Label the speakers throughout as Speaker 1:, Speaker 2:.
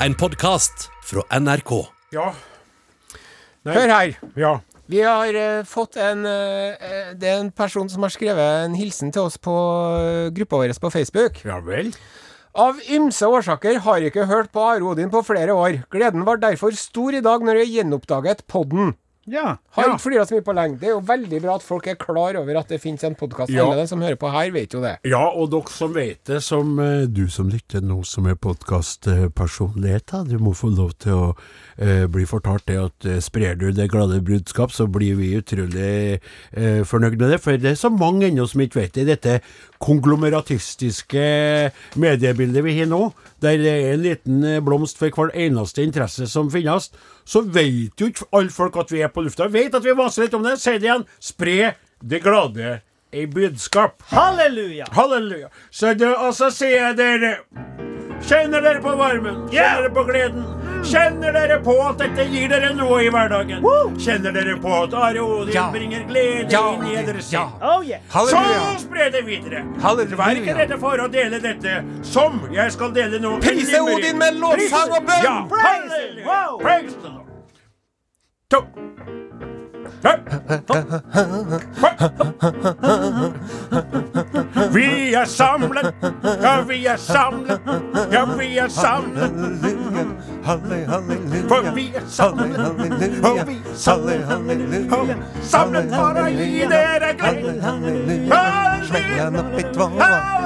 Speaker 1: En podkast fra NRK.
Speaker 2: Ja. Nei,
Speaker 3: Hør her.
Speaker 2: Ja.
Speaker 3: Vi har eh, fått en eh, eh, Det er en person som har skrevet en hilsen til oss på eh, gruppa vår på Facebook.
Speaker 2: ja vel.
Speaker 3: Av ymse årsaker har jeg ikke hørt på Are Odin på flere år. Gleden var derfor stor i dag når jeg gjenoppdaget podden.
Speaker 2: Ja.
Speaker 3: Har
Speaker 2: Ja.
Speaker 3: ikke flira så mye på lenge. Det er jo veldig bra at folk er klar over at det finnes en podkast.
Speaker 2: Ja.
Speaker 3: Alle de som hører på her, vet jo det.
Speaker 2: Ja, og dere som vet det, som eh, du som lytter nå som er podkastpersonligheter, du må få lov til å eh, bli fortalt det at eh, sprer du det glade budskap, så blir vi utrolig eh, fornøyd med det. For det er så mange ennå som ikke vet det. I dette konglomeratistiske mediebildet vi har nå, der det er en liten eh, blomst for hver eneste interesse som finnes, så vet jo ikke alle folk at vi er på lufta. Vet at vi vaser litt om det. Si det igjen. Spre det glade i budskap.
Speaker 4: Halleluja!
Speaker 2: Halleluja. Så det, og så sier jeg dere Kjenner dere på varmen? Kjenner
Speaker 4: Ja.
Speaker 2: dere på gleden?
Speaker 3: Mm.
Speaker 2: Kjenner dere på at dette gir dere noe i hverdagen?
Speaker 4: Woo.
Speaker 2: Kjenner dere på at Are Odin
Speaker 3: Ja.
Speaker 2: bringer glede
Speaker 3: Ja,
Speaker 2: inn i
Speaker 3: Odin.
Speaker 2: deres
Speaker 3: Ja.
Speaker 2: sinn?
Speaker 4: Oh yeah!
Speaker 2: Så
Speaker 3: Halleluja.
Speaker 2: spre det videre.
Speaker 3: Halleluja.
Speaker 2: Vær ikke redde for å dele dette som jeg skal dele nå.
Speaker 3: Prise
Speaker 2: Innimellom.
Speaker 3: Odin med lovsang og bønn.
Speaker 2: Ja.
Speaker 4: Praise
Speaker 2: Halleluja.
Speaker 4: him. Wow.
Speaker 2: Praise the Lord. To. Tre. Vi er samlet, ja vi er samlet, ja vi er samlet, for vi er samlet, og vi er samlet, og samlet for å gi dere glede. Hva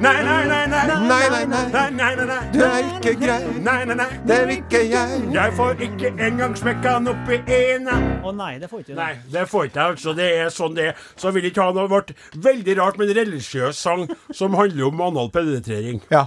Speaker 2: Nei, nei, nei, nei.
Speaker 3: Nei, nei, nei.
Speaker 2: Nei, nei, nei, nei.
Speaker 3: Du er ikke grei.
Speaker 2: Nei, nei, nei.
Speaker 3: Det er ikke jeg.
Speaker 2: Jeg får ikke engang smekka han oppi ena.
Speaker 4: Å nei, det får ikke du.
Speaker 2: Nei, det får ikke jeg. altså. Det er sånn det er. Så jeg vil ikke ha noe vårt veldig rart, men religiøs sang som handler om anal penetrering.
Speaker 3: Ja.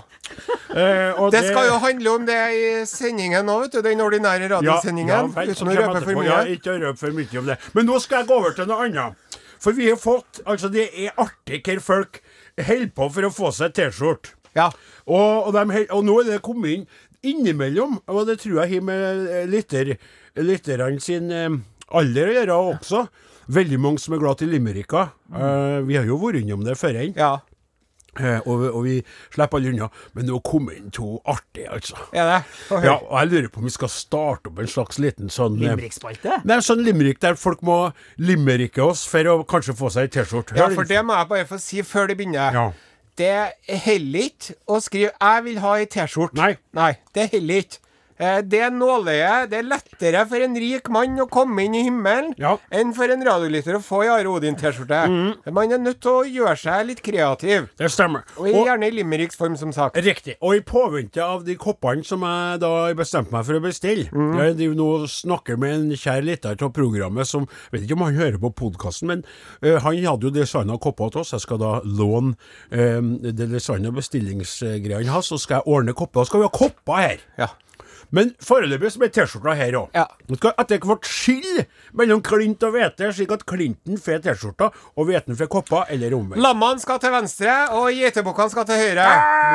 Speaker 2: Eh, og
Speaker 3: Det skal jo handle om det i sendingen nå, vet du. Den ordinære radiosendingen.
Speaker 2: vel,
Speaker 3: uten å
Speaker 2: kommer
Speaker 3: røpe
Speaker 2: etterpå.
Speaker 3: for
Speaker 2: Ja,
Speaker 3: mye.
Speaker 2: ikke røpe for mye om det. Men nå skal jeg gå over til noe annet. For vi har fått Altså, det er artig hvor folk holder på for å få seg T-skjorte.
Speaker 3: Ja.
Speaker 2: Og, og, dem hel- og nå er det kommet inn innimellom, og det tror jeg har med eh, lytter, lytterne sin eh, alder å gjøre også. Veldig mange som er glad til Limerika. Eh, vi har jo vært innom det før enn,
Speaker 3: Mm. ja.
Speaker 2: eh, og, og vi slipper alle unna. Men nå kom inn to artige, altså.
Speaker 3: Er det? Få høre.
Speaker 2: Ja, og jeg lurer på om vi skal starte opp en slags liten sånn eh,
Speaker 4: Limerickspalte?
Speaker 2: Nei, sånn limerick der folk må limerikke oss for å kanskje få seg ei T-skjorte.
Speaker 3: Ja, for det må jeg bare få si før det begynner.
Speaker 2: Ja.
Speaker 3: Det holder ikke å skrive 'jeg vil ha ei T-skjorte'.
Speaker 2: Nei.
Speaker 3: det holder ikke. Eh, Det er nåløye. Det er lettere for en rik mann å komme inn i himmelen
Speaker 2: Ja. Mm.
Speaker 3: enn for en radiolytter å få ei Are Odin-T-skjorte. Man er nødt til å gjøre seg litt kreativ.
Speaker 2: Det stemmer.
Speaker 3: Og gjerne i limericks form, som sagt.
Speaker 2: Riktig. Og i påvente av de koppene som jeg da bestemte meg for å bestille Jeg driver nå og snakker med en kjær lytter av programmet som jeg Vet ikke om han hører på podkasten, men eh, han hadde jo designa kopper til oss. Jeg skal da låne eh, det design- og bestillingsgreiene hans, så skal jeg ordne kopper. Da skal vi ha kopper her!
Speaker 3: Ja.
Speaker 2: Men foreløpig så blir T-skjorta her òg.
Speaker 3: Ja.
Speaker 2: Nå skal etter hvert skille mellom klint og hvete, slik at klinten får T-skjorta og hveten får kopper, eller omvendt.
Speaker 3: Lammene skal til venstre, og geitebukkene skal til høyre.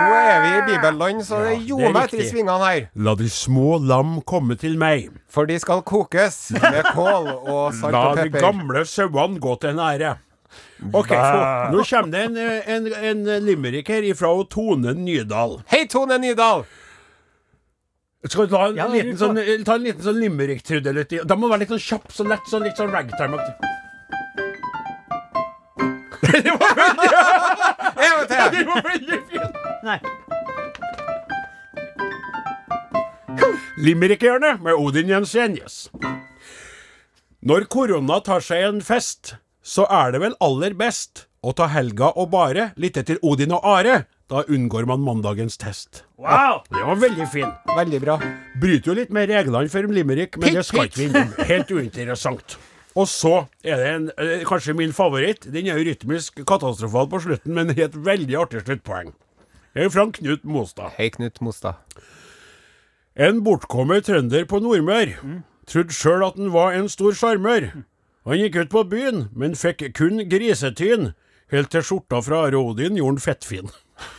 Speaker 3: Nå er vi i bibelland, så det
Speaker 2: Ah! det er
Speaker 3: gjorde meg etter i
Speaker 2: riktig.
Speaker 3: svingene her.
Speaker 2: La de små lam komme til meg.
Speaker 3: For de skal kokes med kål og salt
Speaker 2: La
Speaker 3: og
Speaker 2: de
Speaker 3: pepper.
Speaker 2: gamle sauene gå til en ære. Ok, så, Nå kommer det en, eh, en, en limerick her ifra Tone Nydal.
Speaker 3: Hei, Tone Nydahl!
Speaker 2: Skal vi ta en
Speaker 4: Ja,
Speaker 2: liten
Speaker 4: du får-
Speaker 2: sånn, eh, ta en liten sånn limerick-trudelutt i? Da må den være litt sånn kjapp, så lett, sånn litt sånn ragtime-aktig. Det var veldig-
Speaker 3: En gang til!
Speaker 2: det var veldig fint!
Speaker 4: Nei.
Speaker 2: Limerickhjørnet med Odin Jensenius. Når korona tar seg en fest, så er det vel aller best å ta helga og bare lytte til Odin og Are. Da unngår man mandagens test.
Speaker 4: Wow!
Speaker 2: Det var veldig fin.
Speaker 3: Veldig bra.
Speaker 2: Bryter jo litt med reglene for Limerick, men
Speaker 3: Pikk,
Speaker 2: det skal
Speaker 3: pikk.
Speaker 2: ikke vi innom. Helt uinteressant. Og så er det en, eh, kanskje min favoritt. Den er jo rytmisk katastrofal på slutten, men har et veldig artig sluttpoeng. Det er fra Knut Mostad.
Speaker 3: Hei, Knut Mostad.
Speaker 2: En bortkommet trønder på Nordmør. Trodde sjøl at han var en stor sjarmør. Han gikk ut på byen, men fikk kun grisetyn. Helt til skjorta fra Are Odin gjorde han fettfin.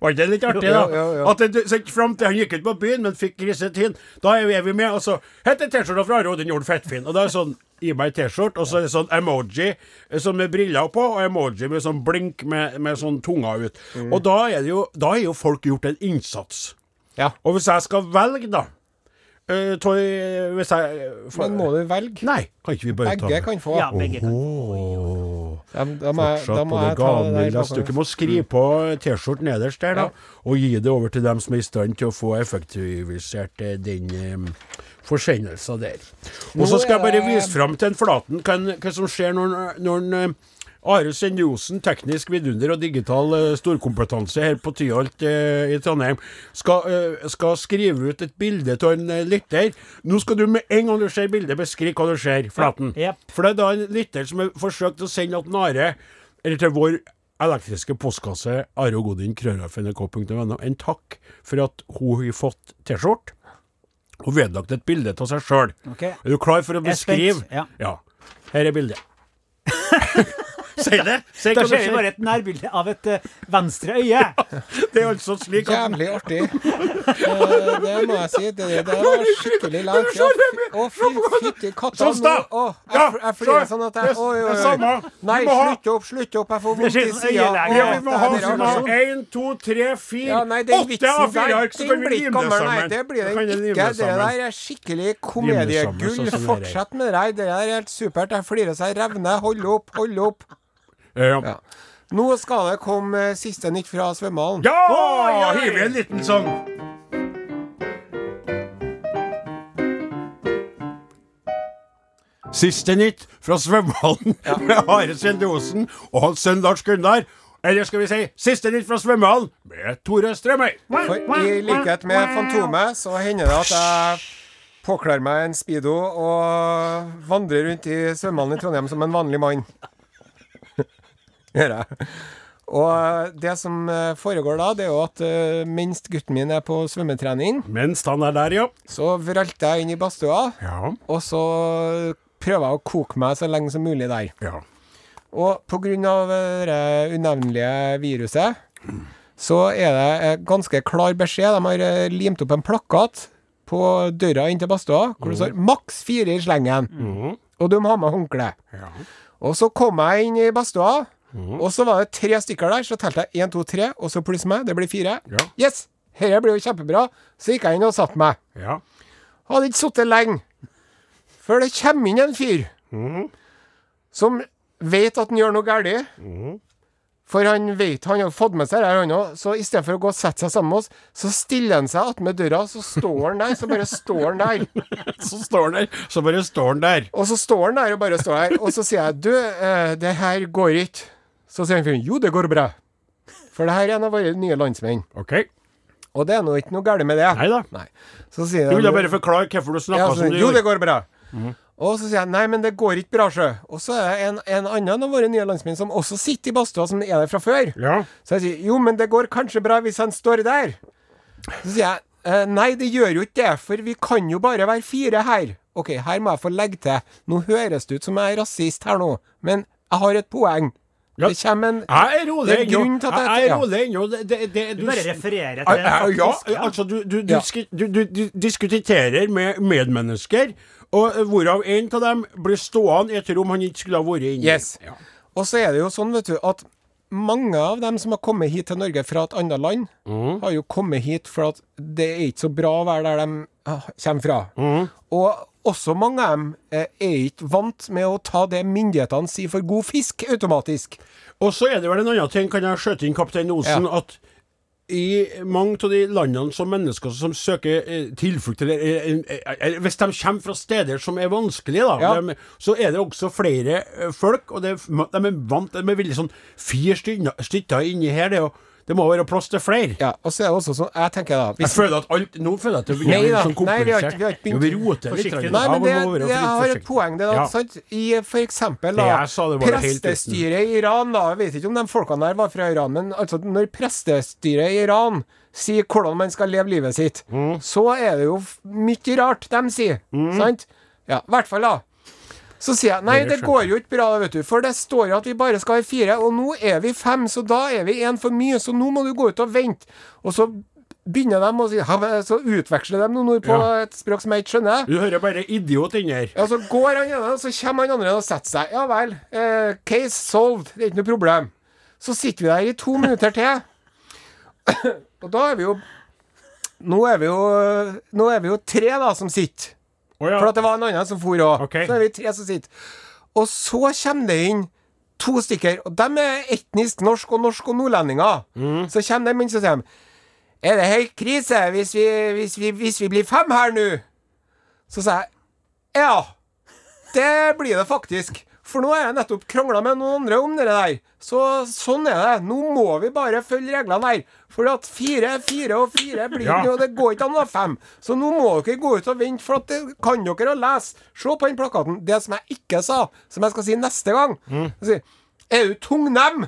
Speaker 2: Var ikke det litt artig, da?
Speaker 3: Jo, jo, jo.
Speaker 2: At det, så, fram til Han gikk ut på byen, men fikk grisetinn. Da er vi- er vi med. Og så heter T-skjorta fra Are Odin Jorden Fettfinn. Og da er det sånn Gi meg T-skjorte, og så er det sånn emoji eh, sånn med briller på, og emoji med sånn blink med, med sånn tunga ut. Og da er, det jo, da er jo folk gjort en innsats.
Speaker 3: Ja.
Speaker 2: Og hvis jeg skal velge, da eh, tå- eh, Hvis jeg eh, får-
Speaker 3: Men må du velge?
Speaker 2: Nei, kan ikke vi bare ta
Speaker 3: Begge
Speaker 2: det?
Speaker 3: kan få.
Speaker 4: Ja, begge kan.
Speaker 2: Åh.
Speaker 3: Da, da må jeg, da
Speaker 2: Fortsatt
Speaker 3: må
Speaker 2: på det
Speaker 3: jeg ta det der Mm.
Speaker 2: gavenlille
Speaker 3: bakover.
Speaker 2: stykket. Må skrive på T-skjorten nederst der, da, og gi det over til dem som er i stand til å få effektivisert eh, den eh, forsendelsen der. Og så skal jeg bare vise fram til en Flaten hva, en- hva som skjer når, en- når en, eh, Are Senjosen, teknisk vidunder og digital eh, storkompetanse her på Tyholt eh, i Trondheim, skal, eh, skal skrive ut et bilde av en eh, lytter. Nå skal du med en gang du ser bildet, beskrive hva du ser, Flaten.
Speaker 4: Ja, jep.
Speaker 2: For det er da en lytter som har forsøkt å sende at Nare, eller til vår elektriske postkasse, arogodin.krøllalf.nrk.no, en takk for at hun har fått T-skjorte og vedlagt et bilde av seg sjøl.
Speaker 4: Ok.
Speaker 2: Er du klar for å
Speaker 4: Jeg er spent,
Speaker 2: beskrive?
Speaker 4: ja.
Speaker 2: Her er bildet. Si det! Si
Speaker 4: Da
Speaker 2: hva du
Speaker 4: ser vi
Speaker 2: ser.
Speaker 4: bare et nærbilde av et eh, venstre øye.
Speaker 2: Det er altså slik at
Speaker 3: Jævlig artig. Eh, det må jeg si. Det, det var skikkelig langt. Ja, fy- Å, fy fytti katta.
Speaker 2: Sånn, da.
Speaker 3: nå- å,
Speaker 2: Ja,
Speaker 3: Jeg fl- jeg flirer
Speaker 2: så-
Speaker 3: sånn at jeg
Speaker 2: det-
Speaker 3: Oi, oi,
Speaker 2: det
Speaker 3: oi.
Speaker 2: samme. Vi
Speaker 3: Nei,
Speaker 2: må ha-
Speaker 3: slutt opp, slutt opp. Jeg får vondt
Speaker 4: ser
Speaker 3: i
Speaker 4: ut som
Speaker 3: sida.
Speaker 4: øyelege.
Speaker 2: ja, vi må ha, sånn
Speaker 4: Det er
Speaker 2: vi må ha
Speaker 4: rart.
Speaker 2: én, to, tre, fire,
Speaker 3: Ja, nei, den
Speaker 2: åtte
Speaker 3: vitsen der,
Speaker 2: A4-ark, så
Speaker 3: den
Speaker 2: kan vi
Speaker 3: blir
Speaker 2: lime
Speaker 3: ikke
Speaker 2: det
Speaker 3: gammel, nei,
Speaker 2: sammen.
Speaker 3: det blir
Speaker 2: Så kan
Speaker 3: den
Speaker 2: vi lime
Speaker 3: ikke. Det
Speaker 2: sammen.
Speaker 3: der er skikkelig
Speaker 2: Lim det sammen,
Speaker 3: komediegull.
Speaker 2: sånn som det er.
Speaker 3: Fortsett med det der. Det der er helt supert. Jeg flirer så jeg revner. Hold opp, hold opp.
Speaker 2: Ja.
Speaker 3: Ja. Nå skal det komme eh, siste nytt fra svømmehallen.
Speaker 2: Ja!
Speaker 4: Oi, oi.
Speaker 2: Hiv i en liten sånn. Siste nytt fra svømmehallen med Are Sendosen og hans sønn Lars Gunnar. Eller skal vi si siste nytt fra svømmehallen med Tore Strømøy.
Speaker 3: For i likhet med Fantomet, så hender det at jeg påkler meg en speedo og vandrer rundt i svømmehallen i Trondheim som en vanlig mann. Gjør jeg. Og det som eh, foregår da, det er jo at eh, mens gutten min er på svømmetrening,
Speaker 2: Mens han er der, ja.
Speaker 3: så vralter jeg inn i badstua,
Speaker 2: Ja.
Speaker 3: og så prøver jeg å koke meg så lenge som mulig der.
Speaker 2: ja.
Speaker 3: Og pga. eh, det unevnelige viruset, så er det eh, ganske klar beskjed. De har eh, limt opp en plakat på døra inn til badstua hvor det står
Speaker 2: Mhm.
Speaker 3: 'maks fire i slengen'. Og du må ha med håndkle.
Speaker 2: Ja. Mhm.
Speaker 3: Og så kom jeg inn i badstua, og så var det tre stykker der. Så telte jeg én, to, tre, og så pluss meg. Det blir fire.
Speaker 2: Ja.
Speaker 3: Yes! Dette blir jo kjempebra. Så gikk jeg inn og satte meg.
Speaker 2: ja.
Speaker 3: Hadde ikke sittet lenge før det kommer inn en fyr som vet at han gjør noe galt. For han vet han har fått med seg det, her, han òg. Så istedenfor å gå og sette seg sammen med oss, så stiller han seg attmed døra, så står han der. Så bare står han der.
Speaker 2: Så står han der. Så bare står han der.
Speaker 3: Og så står han der og bare står der. Og så sier jeg du, eh, det her går ikke. Så sier han fyren jo, det går bra. For det her er en av våre nye landsmenn.
Speaker 2: OK.
Speaker 3: Og det er nå ikke noe galt med det.
Speaker 2: Nei da.
Speaker 3: Nei. Så sier
Speaker 2: Du
Speaker 3: han-
Speaker 2: ville bare forklare hvorfor du snakka
Speaker 3: Ja, så,
Speaker 2: som du
Speaker 3: jo,
Speaker 2: gjorde.
Speaker 3: det
Speaker 2: Mhm.
Speaker 3: går bra. Og så sier jeg nei, men det går ikke bra, sjø. Og så er det en, en annen av våre nye landsmenn som også sitter i badstua, som er der fra før.
Speaker 2: Ja.
Speaker 3: Så jeg sier jo, men det går kanskje bra hvis han står der. Så sier jeg «Eh, nei, det gjør jo ikke det, for vi kan jo bare være fire her. Ok, her må jeg få legge til. Nå høres det ut som jeg er rasist her nå, men jeg har et poeng.
Speaker 2: Ja.
Speaker 3: Det kommer en
Speaker 2: Jeg er rolig
Speaker 3: Det er
Speaker 2: ennå.
Speaker 3: grunnen til at jeg-
Speaker 2: Jeg er
Speaker 3: ja.
Speaker 2: rolig ennå. Det- det- det-
Speaker 4: Du
Speaker 2: du-
Speaker 4: bare
Speaker 2: Ja,
Speaker 4: refererer til det.
Speaker 2: ja,
Speaker 4: faktisk, ja.
Speaker 2: altså du, du, du,
Speaker 3: Ja.
Speaker 2: sk- du, du, du diskuterer med medmennesker, og eh, hvorav en av dem blir stående i et rom han ikke skulle ha vært inne i.
Speaker 3: Yes.
Speaker 2: Ja.
Speaker 3: Og så er det jo sånn, vet du, at mange av dem som har kommet hit til Norge fra et annet land, har jo kommet hit for at det er ikke så bra å være der de ah, kommer fra. Og også mange av dem eh, er ikke vant med å ta det myndighetene sier for god fisk, automatisk.
Speaker 2: Og så er det vel en annen ting, kan jeg skjøte inn kaptein Osen,
Speaker 3: Ja.
Speaker 2: at i mange av de landene som mennesker som søker eh, tilflukt eller, eh, eh, eh, Hvis de kommer fra steder som er vanskelige, da,
Speaker 3: Ja.
Speaker 2: dem- så er det også flere eh, folk, og det, er f- de er vant De er veldig sånn Fire stynna- stykker inni her, det, er jo- det må være plass til flere.
Speaker 3: Ja, og så er det også sånn, jeg tenker da
Speaker 2: Jeg
Speaker 3: hvis,
Speaker 2: føler at alt, Nå føler jeg at det blir
Speaker 3: Nei da,
Speaker 2: sånn
Speaker 3: nei, vi har
Speaker 2: komplisert.
Speaker 3: ikke- vi har ikke begynt.
Speaker 2: Jo, vi roter litt.
Speaker 4: Forsiktig.
Speaker 2: Trond.
Speaker 3: Nei,
Speaker 2: Ja,
Speaker 3: men det,
Speaker 2: man må være
Speaker 3: det
Speaker 2: litt
Speaker 3: har et
Speaker 2: forsiktig.
Speaker 3: poeng, det da,
Speaker 2: Ja.
Speaker 3: sant? I for eksempel da,
Speaker 2: Det jeg sa, det var helt uten.
Speaker 3: prestestyret i Iran, da, jeg vet ikke om de folkene der var fra Iran, men altså, når prestestyret i Iran sier hvordan man skal leve livet sitt, så er det jo f- mye rart de sier, sant? Ja, i hvert fall da. Så sier jeg nei, Mm. det går jo ikke bra, vet du, for det står jo at vi bare skal være fire, og nå er vi fem, så da er vi én for mye, så nå må du gå ut og vente. Og så begynner de å si «Ja, men», Så utveksler de noen ord på
Speaker 2: Ja.
Speaker 3: et språk som jeg ikke skjønner.
Speaker 2: Du hører bare idiot inni her.
Speaker 3: Ja, så går han ene, og så kommer han andre og setter seg. Ja vel. Eh, case solved. Det er ikke noe problem. Så sitter vi der i to minutter til. og da er vi jo Nå er vi jo, nå er vi jo tre da som sitter.
Speaker 4: Å ja.
Speaker 3: For at det var en annen som for òg.
Speaker 4: Ok.
Speaker 3: Så er vi tre som sitter. Og så kommer det inn to stykker, og de er etnisk norsk og norsk og nordlendinger. Så kommer de inn og sier de, Er det helt krise hvis vi, hvis, vi, hvis vi blir fem her nå? Så sa jeg Ja, det blir det faktisk. For nå har jeg nettopp krangla med noen andre om det der. Så sånn er det. Nå må vi bare følge reglene her. For at fire, fire og fire blir
Speaker 4: Ja.
Speaker 3: det jo, det går ikke an å ha fem. Så nå må dere gå ut og vente, for at det kan dere å lese. Se på den plakaten. Det som jeg ikke sa, som jeg skal si neste gang jeg sier, Er du tungnem?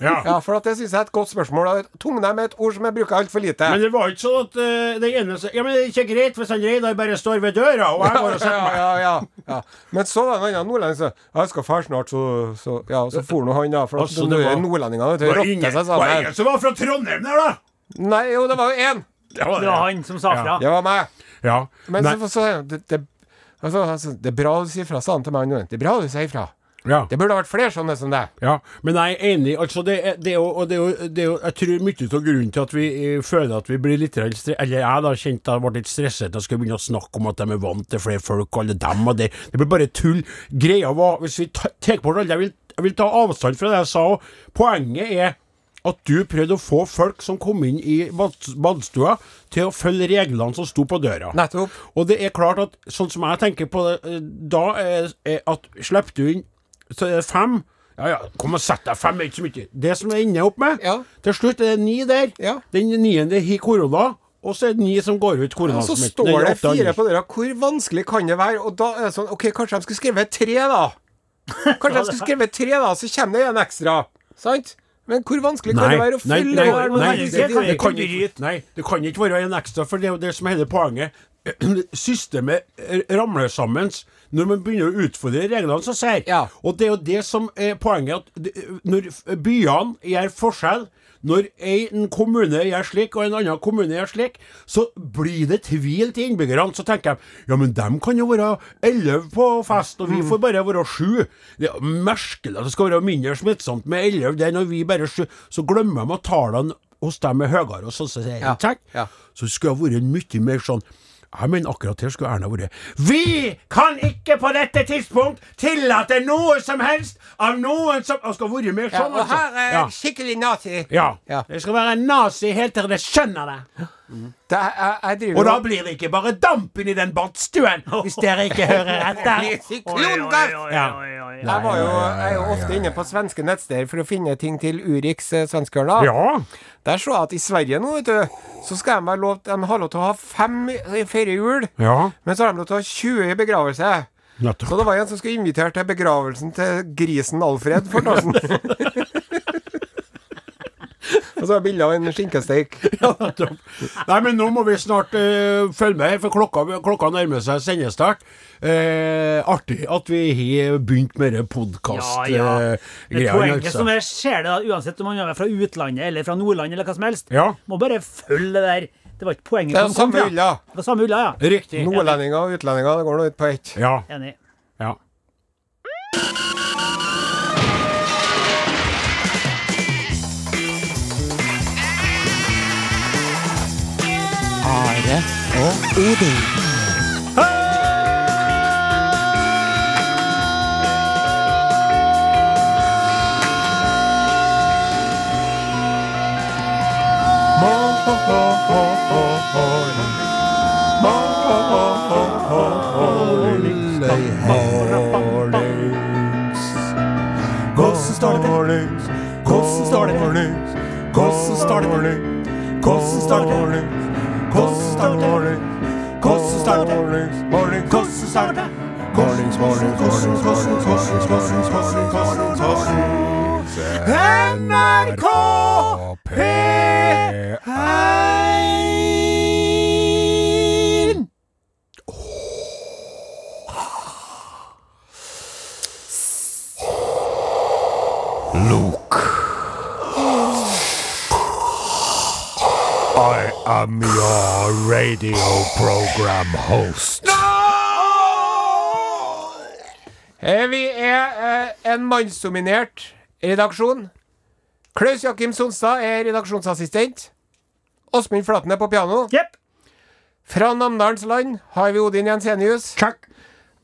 Speaker 2: Ja.
Speaker 3: Ja, for at det syns jeg er et godt spørsmål. og Tungnem er et ord som jeg bruker altfor lite.
Speaker 2: Men det var ikke sånn at eh, den ene sa Ja, men det er ikke greit hvis han Reidar bare står ved døra, og jeg går og
Speaker 3: ja,
Speaker 2: setter meg.
Speaker 3: ja, ja, ja. Men så var det en annen nordlending som sa jeg skal fære snart, så, så Ja, så for nå han, da. For at
Speaker 2: Altså, det
Speaker 3: nå er
Speaker 2: var-
Speaker 3: nordlendingene vet du,
Speaker 2: Det var
Speaker 3: rotter
Speaker 2: ingen,
Speaker 3: seg
Speaker 2: var
Speaker 3: sammen.
Speaker 2: ingen som var fra Trondheim der, da!
Speaker 3: Nei, jo, det var jo én.
Speaker 2: Det var
Speaker 4: Det var han som sa fra.
Speaker 3: Det var meg.
Speaker 2: Ja.
Speaker 3: Men
Speaker 2: Nei,
Speaker 3: så, så det, det, altså, altså, det er bra du sier fra, sa han til meg. nå. Det er bra du sier fra.
Speaker 2: ja.
Speaker 3: Det burde ha vært flere sånne som deg.
Speaker 2: Ja, men jeg er enig. altså det er, det er, jo, og det er, jo, det er jo, Jeg tror mye av grunnen til at vi eh, føler at vi blir litt grann stre- Eller jeg da kjente jeg ble litt stresset og skulle begynne å snakke om at de er vant til flere folk og alle dem og det. Det blir bare tull. Greia var Hvis vi ta- tar bort alle jeg vil, jeg vil ta avstand fra det jeg sa òg. Poenget er at du prøvde å få folk som kom inn i bads- badstua, til å følge reglene som sto på døra.
Speaker 3: Nettopp.
Speaker 2: Og det er klart at sånn som jeg tenker på det, eh, da er, er at slipper du inn så er det fem Ja ja, kom og sett deg, fem er ikke så mye. Det som jeg ender opp med
Speaker 3: Ja.
Speaker 2: Til slutt er det ni der.
Speaker 3: Ja.
Speaker 2: Den niende har korona, og så er det ni som går ut
Speaker 3: Og så
Speaker 2: koronasmitten.
Speaker 3: står
Speaker 2: eller
Speaker 3: det
Speaker 2: åtte andre.
Speaker 3: fire på døra. Hvor vanskelig kan det være? Og da er det sånn OK, kanskje de skulle skrevet tre, da. Kanskje de skulle skrevet tre, da, så kommer det en ekstra. Sant? Men hvor vanskelig kan
Speaker 2: Nei,
Speaker 3: det være å
Speaker 2: nei,
Speaker 3: fylle
Speaker 2: nei,
Speaker 3: det der?
Speaker 2: nei,
Speaker 4: det-
Speaker 2: det, det,
Speaker 4: det
Speaker 2: kan
Speaker 4: kan
Speaker 2: ikke,
Speaker 4: ikke-
Speaker 2: nei, det kan ikke være en ekstra, for det er jo det som er hele poenget. Systemet eh, ramler sammen når man begynner å utfordre reglene som sier.
Speaker 3: Ja.
Speaker 2: Og det er jo det som er poenget, at det- når f- byene gjør forskjell når en kommune gjør slik, og en annen kommune gjør slik, så blir det tvil til innbyggerne. Så tenker jeg ja, men dem kan jo være elleve på fest, og vi
Speaker 3: Mm.
Speaker 2: får bare være sju. Det er merkelig at det skal være mindre smittsomt med elleve der når vi bare er sju. Så glemmer de at tallene hos dem er høyere, og så sier jeg
Speaker 3: Ja,
Speaker 2: takk.
Speaker 3: ja.
Speaker 2: Så det skulle ha vært mye mer sånn jeg mener akkurat her skulle Erna vært Vi kan ikke på dette tidspunkt tillate noe som helst av noen som Og skal vært mer
Speaker 3: Ja,
Speaker 2: sånn,
Speaker 3: og her er
Speaker 2: Ja.
Speaker 3: jeg skikkelig nazi.
Speaker 2: Ja.
Speaker 3: Ja.
Speaker 2: Jeg skal være nazi helt til dere skjønner det.
Speaker 3: Det er, jeg, jeg driver
Speaker 2: Og da
Speaker 3: og-
Speaker 2: blir det ikke bare dampen i den badstuen, hvis dere ikke hører etter.
Speaker 3: Blir syklongass! Jeg var jo, jeg er jo ofte inne på svenske nettsteder for å finne ting til Urix eh, svenskhjørna. Der så jeg at i Sverige nå, vet du, så skal de, være lov, de har lov til å ha fem i- feire jul,
Speaker 2: Ja.
Speaker 3: men så har de lov til å ha 20 i begravelse. Så
Speaker 2: Nettopp.
Speaker 3: det var en som skulle invitere til begravelsen til grisen Alfred Fortåsen. Og så har jeg bilde av en skinkesteik.
Speaker 2: Nei, men nå må vi snart eh, følge med, for klokka, klokka nærmer seg sendestart. Eh, artig at vi har begynt med det
Speaker 4: Ja,
Speaker 2: podkast-greia.
Speaker 4: ja.
Speaker 5: eh,
Speaker 4: Men poenget
Speaker 2: altså.
Speaker 4: som jeg ser det, da, uansett om man er fra utlandet eller fra Nordland eller hva som helst,
Speaker 2: Ja.
Speaker 4: må bare følge det der. Det var ikke poenget.
Speaker 3: Det er
Speaker 4: som kom
Speaker 3: samme
Speaker 4: fra.
Speaker 3: ulla.
Speaker 4: Det var samme ulla, ja.
Speaker 2: Riktig.
Speaker 3: Nordlendinger og utlendinger, det går nå ut på ett.
Speaker 2: Ja.
Speaker 4: Enig.
Speaker 2: ja.
Speaker 5: Hvordan står det til? Hvordan står det til? Hvordan står det til? Hvordan står det til? Hvordan står det til? Hvordan står det til? Hvordan står det til? Mornings, mornings, mornings, mornings, mornings, mornings, mornings, mornings, mornings. NRK P1 Luke. I am your radio program host.
Speaker 3: Eh, Vi er eh, en mannsdominert redaksjon. Klaus Jakim Sonstad er redaksjonsassistent. Åsmund Flaten er på piano.
Speaker 4: Jepp.
Speaker 3: Fra Namdalens land har vi Odin Jensenius.
Speaker 4: Takk.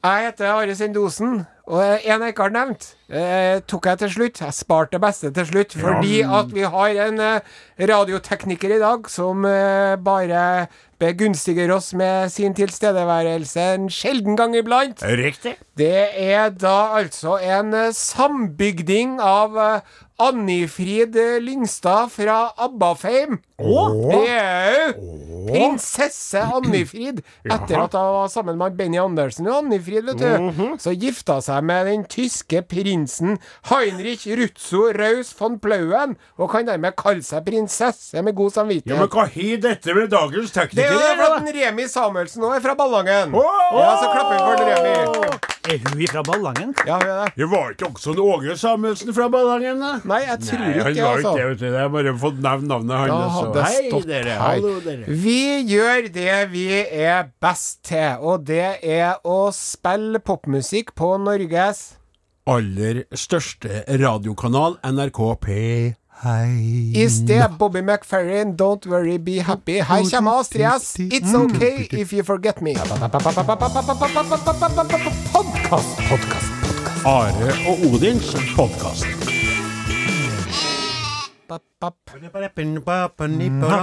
Speaker 3: Jeg heter Are Sendosen, og eh, en jeg ikke har nevnt, eh, tok jeg til slutt. Jeg sparte det beste til slutt, fordi at vi har en eh, radiotekniker i dag som eh, bare begunstiger oss med sin tilstedeværelse en sjelden gang iblant.
Speaker 5: Riktig.
Speaker 3: Det er da altså en eh, sambygding av eh, Annifrid eh, Lyngstad fra Abbafeim. Det er jo prinsesse Annifrid, etter at hun var sammen med Benny Andersen og Annifrid, vet du.
Speaker 5: Mhm.
Speaker 3: Så gifta seg med den tyske prinsen Heinrich Rutzo Raus von Plauen, og kan dermed kalle seg prinsesse med god samvittighet.
Speaker 5: Ja, men hva har dette med dagens
Speaker 3: det er jo
Speaker 5: teknikere
Speaker 3: fordi den Remi Samuelsen òg er fra Ballangen. Ja, så klapper vi for den Remi.
Speaker 4: Er hun ifra Ballangen?
Speaker 3: Ja, hun er det.
Speaker 5: Det var ikke også en Åge Samuelsen fra Ballangen, da?
Speaker 3: Nei, jeg tror
Speaker 5: Nei,
Speaker 3: ikke
Speaker 5: han
Speaker 3: det,
Speaker 5: var
Speaker 3: altså.
Speaker 5: ikke det, vet du. Jeg har bare fått nevnt navnet
Speaker 3: Da
Speaker 5: hans.
Speaker 3: hadde jeg stått her. Vi gjør det vi er best til, og det er å spille popmusikk på Norges
Speaker 2: Aller største radiokanal, NRK P. Hei.
Speaker 3: I sted Bobby McFerrin, Don't Worry Be Happy. Her kommer Astrid S. It's Okay If You Forget Me. Podcast, podcast.
Speaker 2: Are og Odins podkast.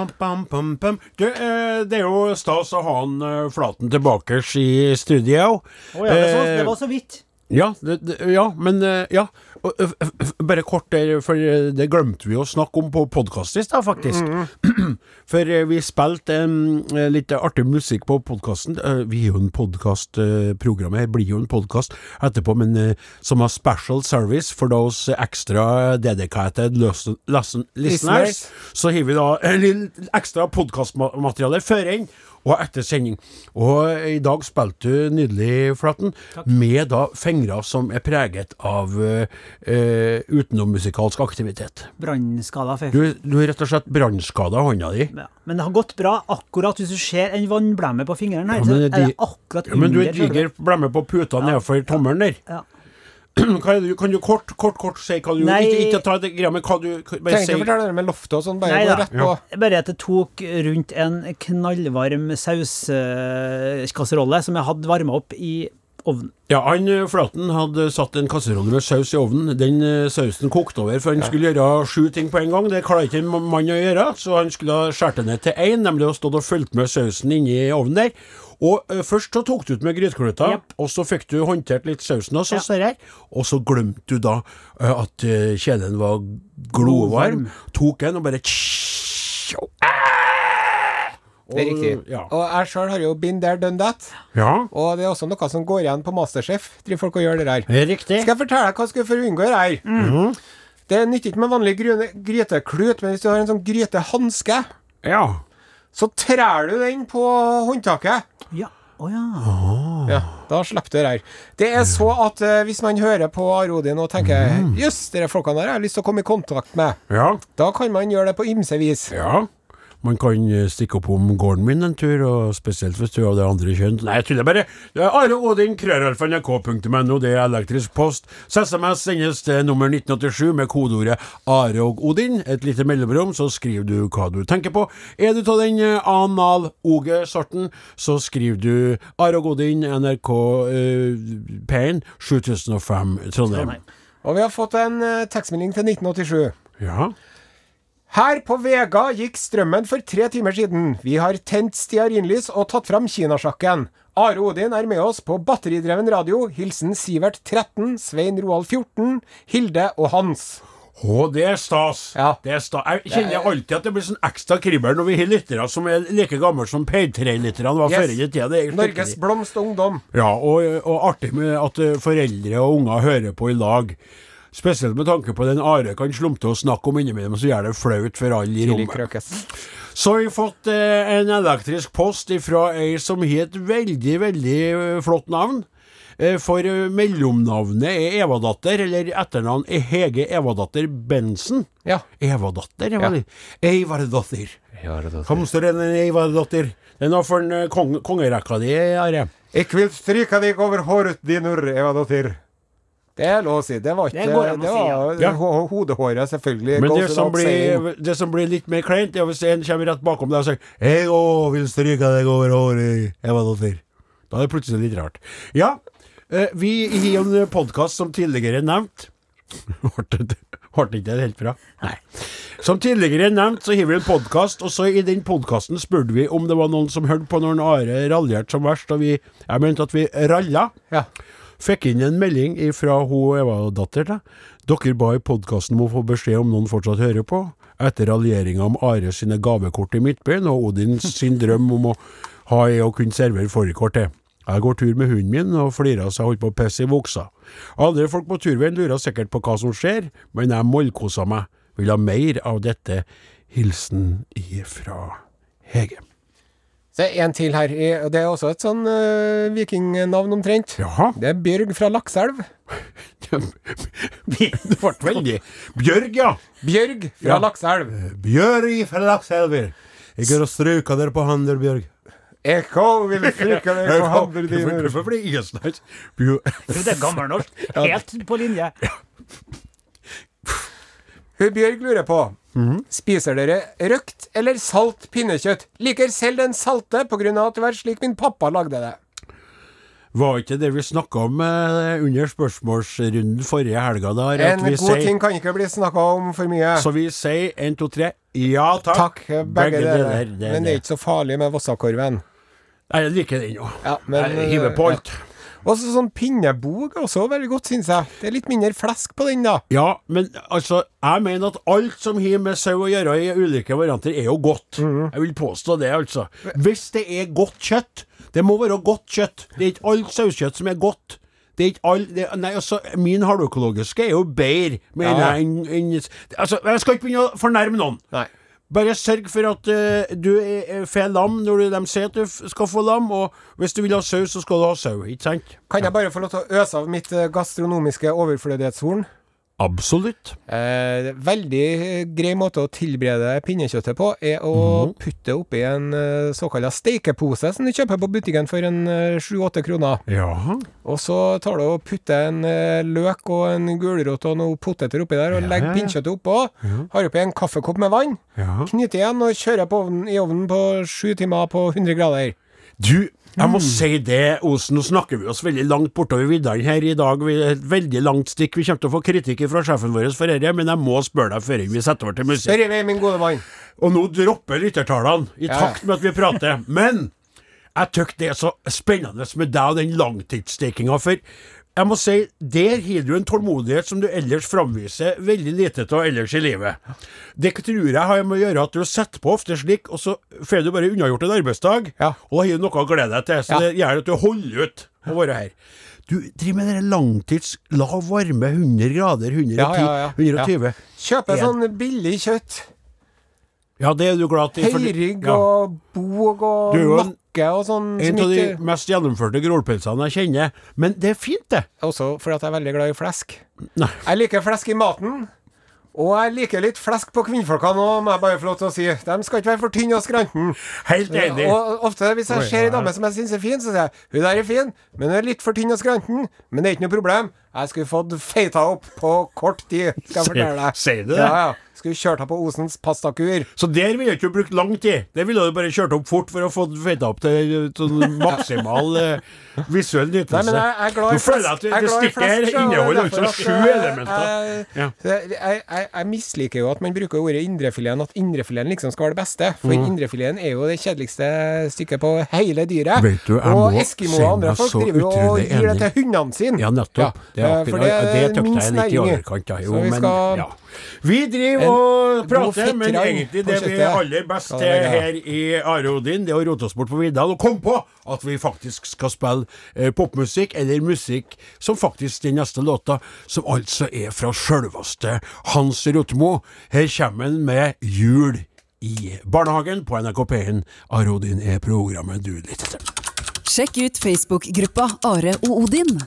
Speaker 2: Det, eh, det er jo stas å ha han eh, Flaten tilbakers i studio.
Speaker 4: Å ja, det, så,
Speaker 2: Eh,
Speaker 4: det var så vidt.
Speaker 2: Ja, det, det, ja men eh, Ja. Og, eh, f- f- bare kort der, for eh, det glemte vi å snakke om på podkast i stad, faktisk.
Speaker 4: Mm,
Speaker 2: For eh, vi spilte em, eh, litt artig musikk på podkasten. vi er jo en podkast, eh, programmet her blir jo en podkast etterpå, men eh, som har special service for those extra dedicated lesson, lesson, listeners.
Speaker 3: Listeners.
Speaker 2: Så har vi da eh, litt ekstra podkastmateriale før inn og etter sending. Og eh, i dag spilte du nydelig, Flatten, med da fingre som er preget av eh, eh, utenommusikalsk aktivitet.
Speaker 4: Brannskada
Speaker 2: Du,
Speaker 4: før.
Speaker 2: du har rett og slett brannskada hånda di.
Speaker 4: Ja. Men det har gått bra akkurat hvis du ser en vannblemme på fingeren her.
Speaker 2: Ja,
Speaker 4: så
Speaker 2: men
Speaker 4: er
Speaker 2: de-
Speaker 4: det akkurat
Speaker 2: Ja, men du er
Speaker 4: under sjølve-
Speaker 2: diger blemme på puta nedenfor tommelen der.
Speaker 4: Ja.
Speaker 2: Hva er det, du- kan du kort, kort, kort si hva du
Speaker 4: Nei.
Speaker 2: Ikke, ikke ta det greia, men hva du bare
Speaker 3: Trenger
Speaker 2: si.
Speaker 3: ikke å fortelle det med loftet og sånn, bare
Speaker 4: Nei
Speaker 3: gå
Speaker 4: da.
Speaker 3: rett på.
Speaker 4: Bare at det tok rundt en knallvarm sauskasserolle som jeg hadde varma opp i ovnen.
Speaker 2: Ja, han eh, Flaten hadde satt en kasserolle med saus i ovnen. Den eh, sausen kokte over, for han skulle gjøre sju ting på en gang. Det klarer ikke en ma- mann å gjøre, så han skulle ha skåret det ned til én, nemlig å stå og fulgt med sausen inni ovnen der. Og eh, først så tok du ut med grytekluter,
Speaker 4: Japp.
Speaker 2: og så fikk du håndtert litt sausen også,
Speaker 4: Ja.
Speaker 2: ser jeg. og så glemte du da eh, at eh, kjelen var glovarm, tok en og bare tss, og,
Speaker 3: Det er
Speaker 2: Og,
Speaker 3: riktig.
Speaker 2: ja.
Speaker 3: Og jeg sjøl har jo been there, done that.
Speaker 2: ja.
Speaker 3: Og det er også noe som går igjen på Masterchef. Driver folk og gjør det der.
Speaker 2: Riktig.
Speaker 3: Skal jeg fortelle deg hva du skal for å unngå det her? Det nytter ikke med vanlig grøne- gryteklut, men hvis du har en sånn grytehanske,
Speaker 2: Ja.
Speaker 3: så trær du den på håndtaket.
Speaker 4: Ja. Å ja.
Speaker 3: Ja, da slipper du det her. Det er så at eh, hvis man hører på Arodin og tenker Jøss, dere folkene her har jeg lyst til å komme i kontakt med.
Speaker 2: Ja.
Speaker 3: Da kan man gjøre det på ymse vis.
Speaker 2: Ja. Man kan eh, stikke opp om gården min en tur, og spesielt hvis du er av det andre kjønn. Nei, jeg tuller bare. Det er Are Odin, krøralfa.nrk.no, det er elektrisk post. Så SMS sendes til nummer 1987 med kodeordet Are og Odin. Et lite mellomrom, så skriver du hva du tenker på. Er du av den eh, anal-oge-sorten, så skriver du Are og Odin, NRK eh, P1, 7005 Trondheim.
Speaker 4: Trondheim.
Speaker 3: Og vi har fått en eh, tekstmelding til 1987.
Speaker 2: Ja.
Speaker 3: Her på Vega gikk strømmen for tre timer siden. Vi har tent stearinlys og tatt fram kinasjakken. Are Odin er med oss på batteridreven radio. Hilsen Sivert 13, Svein Roald 14, Hilde og Hans.
Speaker 2: Å, det er stas.
Speaker 3: Ja.
Speaker 2: Det er sta jeg kjenner alltid at det blir sånn ekstra kribler når vi har lyttere som er like gamle som P3-lytterne var
Speaker 3: Yes.
Speaker 2: før i tida. Det er skikkelig-
Speaker 3: Norges blomst og ungdom.
Speaker 2: Ja, og, og artig med at eh, foreldre og unger hører på i lag. Spesielt med tanke på den Are kan slumte å snakke om innimellom, så gjør det flaut for alle i
Speaker 3: Billy
Speaker 2: rommet.
Speaker 3: Krøkes.
Speaker 2: Så har vi fått eh, en elektrisk post fra ei som har et veldig, veldig eh, flott navn. Eh, For eh, mellomnavnet er Evadatter, eller etternavn er Hege Evadatter Bensen.
Speaker 3: Ja.
Speaker 2: Evadatter, ja. Eivarddatter.
Speaker 3: Jeg
Speaker 2: Kom, står det en Eivarddatter. Den var for en eh, kong kongerekka di, Are.
Speaker 5: vil stryke deg over håret dinur, Eva Dotter.
Speaker 3: Det er lov å si. Det var ikke
Speaker 4: Det går an å
Speaker 3: det var,
Speaker 2: si, ja. Ja.
Speaker 3: ho- Hodehåret, selvfølgelig.
Speaker 2: Men
Speaker 3: goes
Speaker 2: det som,
Speaker 3: without saying.
Speaker 2: blir, det som blir litt mer kleint, er hvis en kommer rett bakom deg og sier 'Jeg òg vil stryke deg over håret, Evadatter'. Da er det plutselig litt rart. Ja, eh, vi har jo en podkast som tidligere nevnt. Ble det ble det ikke det helt bra? Nei. Som tidligere nevnt, så har vi en podkast, og så i den podkasten spurte vi om det var noen som hørte på når Are raljerte som verst, og vi, jeg mente at vi ralla.
Speaker 3: Ja.
Speaker 2: Fikk inn en melding fra hun Eva-datter. da. Dere ba i podkasten om å få beskjed om noen fortsatt hører på. Etter raljeringa om Are sine gavekort i Midtbyen og Odin sin drøm om å ha ei å kunne servere fårikål til. Jeg går tur med hunden min og flirer så jeg holder på å pisse i buksa. Andre folk på turveien lurer sikkert på hva som skjer, men jeg mollkoser meg. Vil ha mer av dette. Hilsen ifra Hege.
Speaker 3: Så er en til her. i- og Det er også et sånn eh, vikingnavn omtrent.
Speaker 2: Jaha.
Speaker 3: Det er Bjørg fra Lakselv.
Speaker 2: Det ble veldig Bjørg, ja.
Speaker 3: Bjørg fra
Speaker 2: Ja.
Speaker 3: Lakselv.
Speaker 2: Bjørg fra Lakselver. Jeg går og stryker dere på handen, Bjørg.
Speaker 3: Ekko vil stryke deg på hånden din.
Speaker 2: Hvorfor blir jeg snart Bjør-
Speaker 4: Det er gammelnorsk. Helt på linje.
Speaker 3: Hun Bjørg lurer på
Speaker 2: Mhm.
Speaker 3: Spiser dere røkt eller salt pinnekjøtt? Liker selv den salte på grunn av at det var slik min pappa lagde det.
Speaker 2: Var ikke det vi snakka om eh, under spørsmålsrunden forrige helga, da? At
Speaker 3: En
Speaker 2: vi
Speaker 3: god
Speaker 2: sier,
Speaker 3: ting kan ikke bli snakka om for mye.
Speaker 2: Så vi sier én, to, tre. Ja takk.
Speaker 3: Takk, begge dere.
Speaker 2: det
Speaker 3: Men det
Speaker 2: er
Speaker 3: er
Speaker 2: det.
Speaker 3: ikke så farlig med Vossakorven.
Speaker 2: Nei, Jeg liker den jo.
Speaker 3: Ja, men,
Speaker 2: Jeg hiver på alt.
Speaker 3: Og så sånn pinnebog er også veldig godt, syns jeg. Det er litt mindre flesk på den, da.
Speaker 2: Ja, men altså, jeg mener at alt som har med sau å gjøre i ulike varianter, er jo godt.
Speaker 3: Mhm.
Speaker 2: Jeg vil påstå det, altså. Hvis det er godt kjøtt. Det må være godt kjøtt. Det er ikke alt sauekjøtt som er godt. Det er ikke all, det, nei, altså, Min halvøkologiske er jo bedre, mener
Speaker 3: Ja.
Speaker 2: jeg, enn enn- altså, Jeg skal ikke begynne å fornærme noen.
Speaker 3: Nei.
Speaker 2: Bare sørg for at eh, du eh, får lam når du- de sier at du f- skal få lam, og hvis du vil ha sau, så skal du ha sau. Ikke sant?
Speaker 3: Kan jeg bare få lov til å øse av mitt eh, gastronomiske overflødighetshorn?
Speaker 2: Absolutt.
Speaker 3: Eh, veldig eh, grei måte å tilberede pinnekjøttet på, er å
Speaker 2: Mhm.
Speaker 3: putte det oppi en eh, såkalla steikepose som du kjøper på butikken for en eh, sju-åtte kroner.
Speaker 2: Ja.
Speaker 3: Og så tar du og putter en eh, løk og en gulrot og noen poteter oppi der, og legger pinnekjøttet oppå. Har oppi en kaffekopp med vann,
Speaker 2: ja.
Speaker 3: knyter igjen og kjører på ovnen, i ovnen på sju timer på 100 grader.
Speaker 2: Du, jeg må si det, Osen. Nå snakker vi oss veldig langt bortover viddene her i dag. Vi er et veldig langt stikk. Vi kommer til å få kritikk fra sjefen vår for dette, men jeg må spørre deg før vi setter over til musikk.
Speaker 3: Spør i vei, min gode mann.
Speaker 2: Og nå dropper lyttertallene, i
Speaker 3: ja.
Speaker 2: takt med at vi prater. Men jeg tykker det er så spennende med deg og den langtidsstekinga, for jeg må si, der har du en tålmodighet som du ellers framviser veldig lite av ellers i livet. Det tror jeg har med å gjøre at du setter på ofte slik, og så får du bare unnagjort en arbeidsdag,
Speaker 3: Ja.
Speaker 2: og da har du noe å glede deg til. Så
Speaker 3: Ja.
Speaker 2: det gjør at du holder ut å være her. Du driver med den langtids lav varme, 100 grader, 110,
Speaker 3: Ja, ja, ja.
Speaker 2: 120.
Speaker 3: Kjøper
Speaker 2: En-
Speaker 3: sånn billig kjøtt.
Speaker 2: Ja, det er du glad i. for du-
Speaker 3: Høyrygg
Speaker 2: ja.
Speaker 3: og bog og
Speaker 2: Du er jo en-
Speaker 3: nakke og sånn.
Speaker 2: En
Speaker 3: som
Speaker 2: av de
Speaker 3: ikke-
Speaker 2: mest gjennomførte grålpølsene jeg kjenner. Men det er fint, det.
Speaker 3: Også fordi at jeg er veldig glad i flesk.
Speaker 2: Nei.
Speaker 3: Jeg liker flesk i maten. Og jeg liker litt flesk på kvinnfolka nå, må jeg bare få lov til å si. De skal ikke være for tynne og skranten.
Speaker 2: Helt enig.
Speaker 3: Og ofte hvis jeg ser ei dame som jeg syns er fin, så sier jeg hun der er fin, men hun er litt for tynn og skranten. Men det er ikke noe problem. Jeg skulle fått feita opp på kort tid, skal jeg
Speaker 2: Sier-
Speaker 3: fortelle deg.
Speaker 2: sier du det?
Speaker 3: Ja, ja. Skulle kjørt henne på Osens pastakur.
Speaker 2: Så der ville du ikke brukt lang tid. Der ville du bare kjørt opp fort for å få feita opp til eh, sånn maksimal eh, visuell nytelse.
Speaker 3: Nei, men jeg, jeg er glad i
Speaker 2: Nå føler jeg at
Speaker 3: flesk-
Speaker 2: det,
Speaker 3: jeg er
Speaker 2: det
Speaker 3: glad i
Speaker 2: stikket her
Speaker 3: flesk, så
Speaker 2: inneholder
Speaker 3: derfor
Speaker 2: altså
Speaker 3: at,
Speaker 2: sju
Speaker 3: eh,
Speaker 2: elementer.
Speaker 3: jeg-
Speaker 2: Ja.
Speaker 3: Jeg, jeg, jeg misliker jo at man bruker ordet indrefileten, at indrefileten liksom skal være det beste. For
Speaker 2: Mm.
Speaker 3: indrefileten er jo det kjedeligste stykket på hele dyret.
Speaker 2: Vet du, jeg
Speaker 3: og
Speaker 2: må
Speaker 3: Eskimo
Speaker 2: si
Speaker 3: og andre
Speaker 2: meg
Speaker 3: folk
Speaker 2: så
Speaker 3: driver jo og
Speaker 2: utrolig
Speaker 3: gir det
Speaker 2: enig.
Speaker 3: til hundene sine.
Speaker 2: Ja, nettopp.
Speaker 3: Ja,
Speaker 2: det er
Speaker 3: eh, for
Speaker 2: akkurat det, det tøkte
Speaker 3: minst
Speaker 2: jeg litt i
Speaker 3: næring i.
Speaker 2: overkant av. Jo,
Speaker 3: Så vi
Speaker 2: men
Speaker 3: skal
Speaker 2: ja. Vi driver
Speaker 3: En
Speaker 2: og
Speaker 3: god
Speaker 2: prater, men
Speaker 3: fettrang
Speaker 2: egentlig
Speaker 3: på
Speaker 2: det vi er
Speaker 3: kjøttet.
Speaker 2: aller best
Speaker 3: Skal
Speaker 2: til
Speaker 3: jeg legge
Speaker 2: her i Are Odin, det er å rote oss bort på vidda og komme på at vi faktisk skal spille eh, popmusikk, eller musikk som faktisk den neste låta, som altså er fra sjølveste Hans Rotmo. Her kommer han med Jul i barnehagen på NRK P1. Arodin er programmet du lytter til.
Speaker 6: Sjekk ut Facebook-gruppa Are og Odin.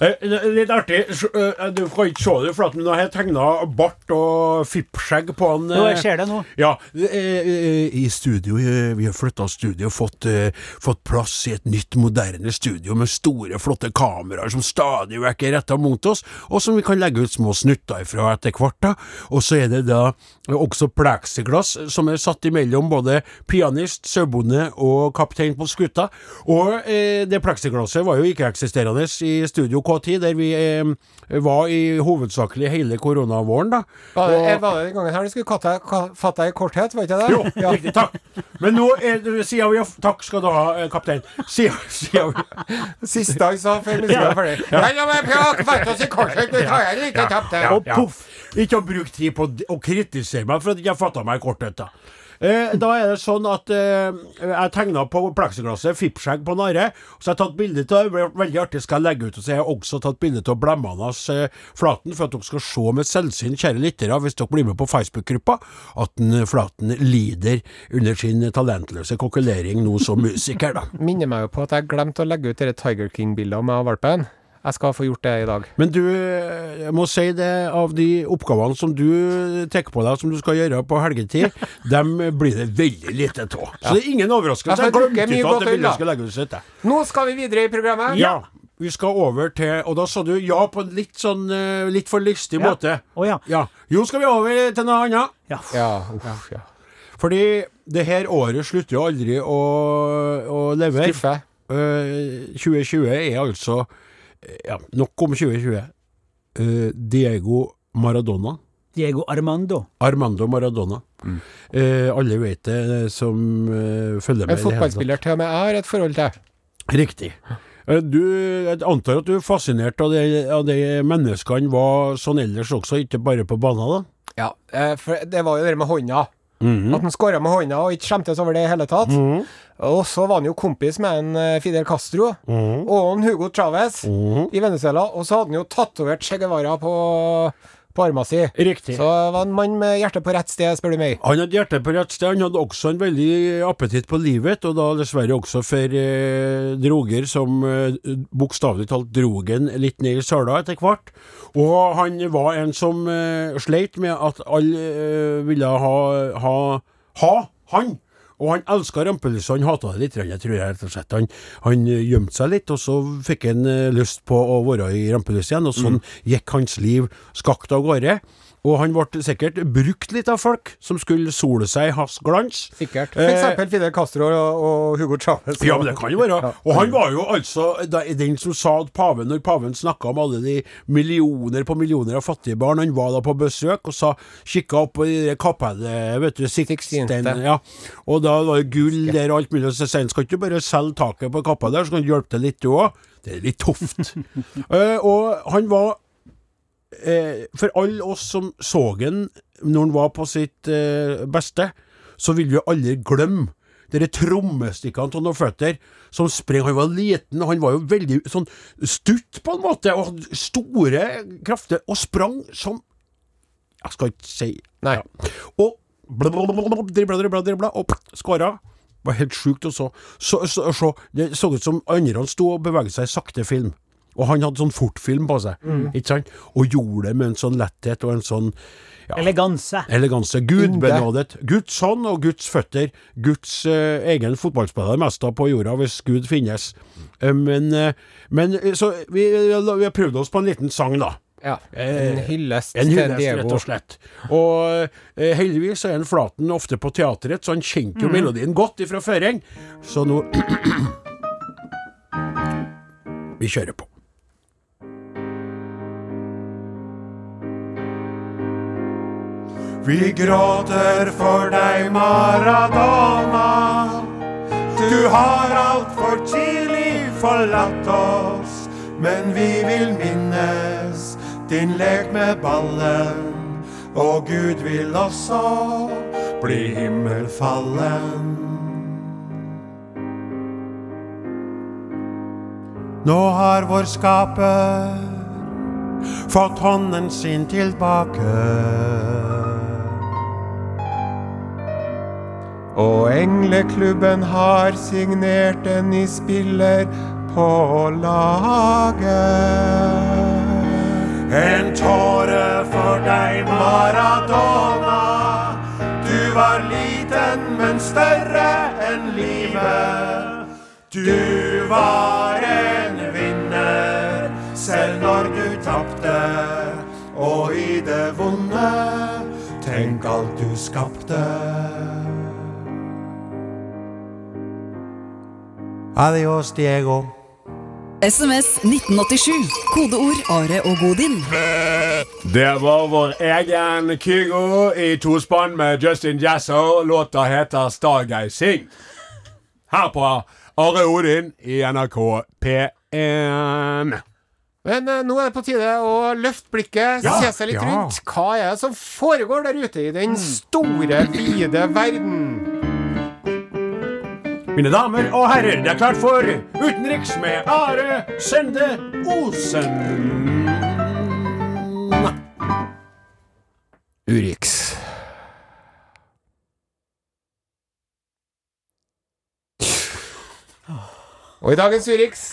Speaker 2: Eh, det er Litt artig, s- eh, du kan ikke se det, for at nå har jeg tegna bart og fippskjegg på han.
Speaker 4: Jo,
Speaker 2: eh,
Speaker 4: jeg ser det nå.
Speaker 2: Ja, eh, eh, i studio, eh, vi har flytta studio og fått, eh, fått plass i et nytt, moderne studio med store, flotte kameraer som stadig vekk er retta mot oss, og som vi kan legge ut små snutter ifra etter hvert. da. Og så er det da også pleksiglass som er satt imellom både pianist, sauebonde og kaptein på skuta. Og eh, det pleksiglasset var jo ikke-eksisterende i Studio K10, der vi eh, var i hovedsakelig hele koronavåren, da.
Speaker 3: Var det, jeg var eh, det den gangen her du skulle katte, ka- fatte deg i korthet, var ikke det?
Speaker 2: Jo,
Speaker 3: Ja.
Speaker 2: riktig. Takk. Men nå er det, sier vi Takk skal du ha, eh, kaptein. Sier, sier vi
Speaker 3: Siste dag så før vi var ferdig. Nei, ja, men jeg fatte oss i korthet, det tar jeg ikke tapt det.
Speaker 2: Og poff! Ikke å bruke tid på d- å kritisere meg for at jeg ikke fatta meg i korthet, da. Eh, da er det sånn at eh, jeg tegna på pleksiglasset fippskjegg på Narre. Så jeg har tatt bilde av det. ble Veldig artig skal jeg legge ut. Og så har jeg også tatt bilde av blemmene hans eh, Flaten, for at dere skal se med selvsyn, kjære lyttere, hvis dere blir med på Facebook-gruppa, at den, eh, Flaten lider under sin talentløse kokkelering nå som musiker, da.
Speaker 3: Minner meg jo på at jeg glemte å legge ut det Tiger King-bildet med valpen. Jeg skal få gjort det i dag.
Speaker 2: Men du, jeg må si det, av de oppgavene som du tar på deg, som du skal gjøre på helgetid, dem blir det veldig lite av. Så det er ingen overraskelse.
Speaker 3: Jeg
Speaker 2: Jeg
Speaker 3: får
Speaker 2: glemte
Speaker 3: drukke mye
Speaker 2: ikke
Speaker 3: godt
Speaker 2: at det
Speaker 3: øl, da.
Speaker 2: bildet skal legges ut. jeg.
Speaker 3: Nå skal vi videre i programmet.
Speaker 2: Ja. Vi skal over til Og da sa du ja på en litt sånn eh, litt for lystig
Speaker 4: Ja.
Speaker 2: måte.
Speaker 4: Å ja.
Speaker 2: Ja. Jo, skal vi over til noe annet.
Speaker 4: Ja.
Speaker 3: Ja, uff, ja.
Speaker 2: Fordi det her året slutter jo aldri å, å leve.
Speaker 3: Skuffe.
Speaker 2: Eh, 2020 er altså eh, ja, Nok om 2020. Eh, Diego Maradona.
Speaker 4: Diego Armando.
Speaker 2: Armando Maradona.
Speaker 3: Mm.
Speaker 2: Eh, alle vet det eh, som eh, følger med. i
Speaker 3: En
Speaker 2: det hele
Speaker 3: fotballspiller til og med jeg har et forhold til.
Speaker 2: tatt. Riktig. Eh, Du, jeg antar at du er fascinert av de, av de menneskene var sånn ellers også, ikke bare på banen? da?
Speaker 3: Ja, eh, for det var jo det med hånda.
Speaker 2: Mhm.
Speaker 3: At han skåra med hånda og ikke skjemtes over det i hele tatt. Og så var han jo kompis med en eh, Fidel Castro
Speaker 2: Mhm.
Speaker 3: og en Hugo Chávez i Venezuela. Og så hadde han jo tatovert Che Guevara på, på arma si.
Speaker 2: Riktig.
Speaker 3: Så det var en mann med hjertet på rett sted, spør du meg.
Speaker 2: Han hadde hjertet på rett sted, han hadde også en veldig appetitt på livet, og da dessverre også for eh, droger som eh, bokstavelig talt drog en litt ned i søla etter hvert. Og han var en som eh, sleit med at alle eh, ville ha, ha, ha han. Og han elska rampelyset, han hata det litt, grann, jeg tror jeg rett og slett. Han, han eh, gjemte seg litt, og så fikk han eh, lyst på å være i rampelyset igjen, og
Speaker 3: Mm.
Speaker 2: sånn gikk hans liv skakt av gårde. Og han ble sikkert brukt litt av folk som skulle sole seg i hans glans.
Speaker 3: Sikkert. For
Speaker 2: Eh,
Speaker 3: eksempel Fidel Castro og, og Hugo Chávez.
Speaker 2: Ja, men det kan jo være. Og han var jo altså da- den som sa at paven, når paven snakka om alle de millioner på millioner av fattige barn, han var da på besøk og sa kikka opp på det kapellet, vet du, Sixten,
Speaker 3: Sixtinste.
Speaker 2: ja. Og da var det gull der og alt mulig, og så sier han skal ikke du bare selge taket på kapellet, der, så kan du hjelpe til litt du òg? Det er litt tøft. Eh, og han var eh, For alle oss som så han når han var på sitt eh, beste, så vil vi aldri glemme de trommestikkene av noen føtter som sprang. Han var liten, han var jo veldig sånn stutt på en måte, og hadde store krafter, og sprang som Jeg skal ikke si
Speaker 3: Nei.
Speaker 2: ja. Og blablabla, dribla, dribla, dribla, og skåra. Var helt sjukt å så. Så, så, så. Det så ut som andre sto og beveget seg i sakte film. Og han hadde sånn fortfilm på seg, ikke sant? Og gjorde det med en sånn letthet og en sånn ja,
Speaker 4: Eleganse.
Speaker 2: eleganse. Gud benådet. Guds hånd og Guds føtter. Guds eh, egen fotballspiller mest av på jorda, hvis Gud finnes. Eh, men, eh, men eh, så vi, vi har prøvd oss på en liten sang, da.
Speaker 3: Ja.
Speaker 2: Eh,
Speaker 3: En hyllest
Speaker 2: En
Speaker 3: til
Speaker 2: hyllest, rett
Speaker 3: Diego.
Speaker 2: og slett. Og eh, heldigvis er en Flaten ofte på teatret, så han kjente jo melodien godt ifra føring. Så nå Vi kjører på.
Speaker 5: Vi gråter for deg, Maradona. Du har altfor tidlig forlatt oss, men vi vil minnes din lek med ballen. Og Gud vil også bli himmelfallen. Nå har vår skaper fått hånden sin tilbake. Og engleklubben har signert en ny spiller på laget. En tåre for deg, Maradona. Du var liten, men større enn livet. Du var en vinner, selv når du tapte. Og i det vonde, tenk alt du skapte. Adios, Diego.
Speaker 6: SMS 1987. Kodeord Are og Odin.
Speaker 5: Det var vår egen Kygo i tospann med Justin Jazzo. Låta heter Stargazing. Her på Are Odin i NRK P1.
Speaker 3: Men eh, nå er det på tide å løfte blikket,
Speaker 5: Ja,
Speaker 3: se seg litt
Speaker 5: ja.
Speaker 3: rundt. Hva er det som foregår der ute i den store, vide verden?
Speaker 5: Mine damer og herrer, det er klart for utenriks med Are Sende Osen.
Speaker 3: Urix. 20. Og i dagens Urix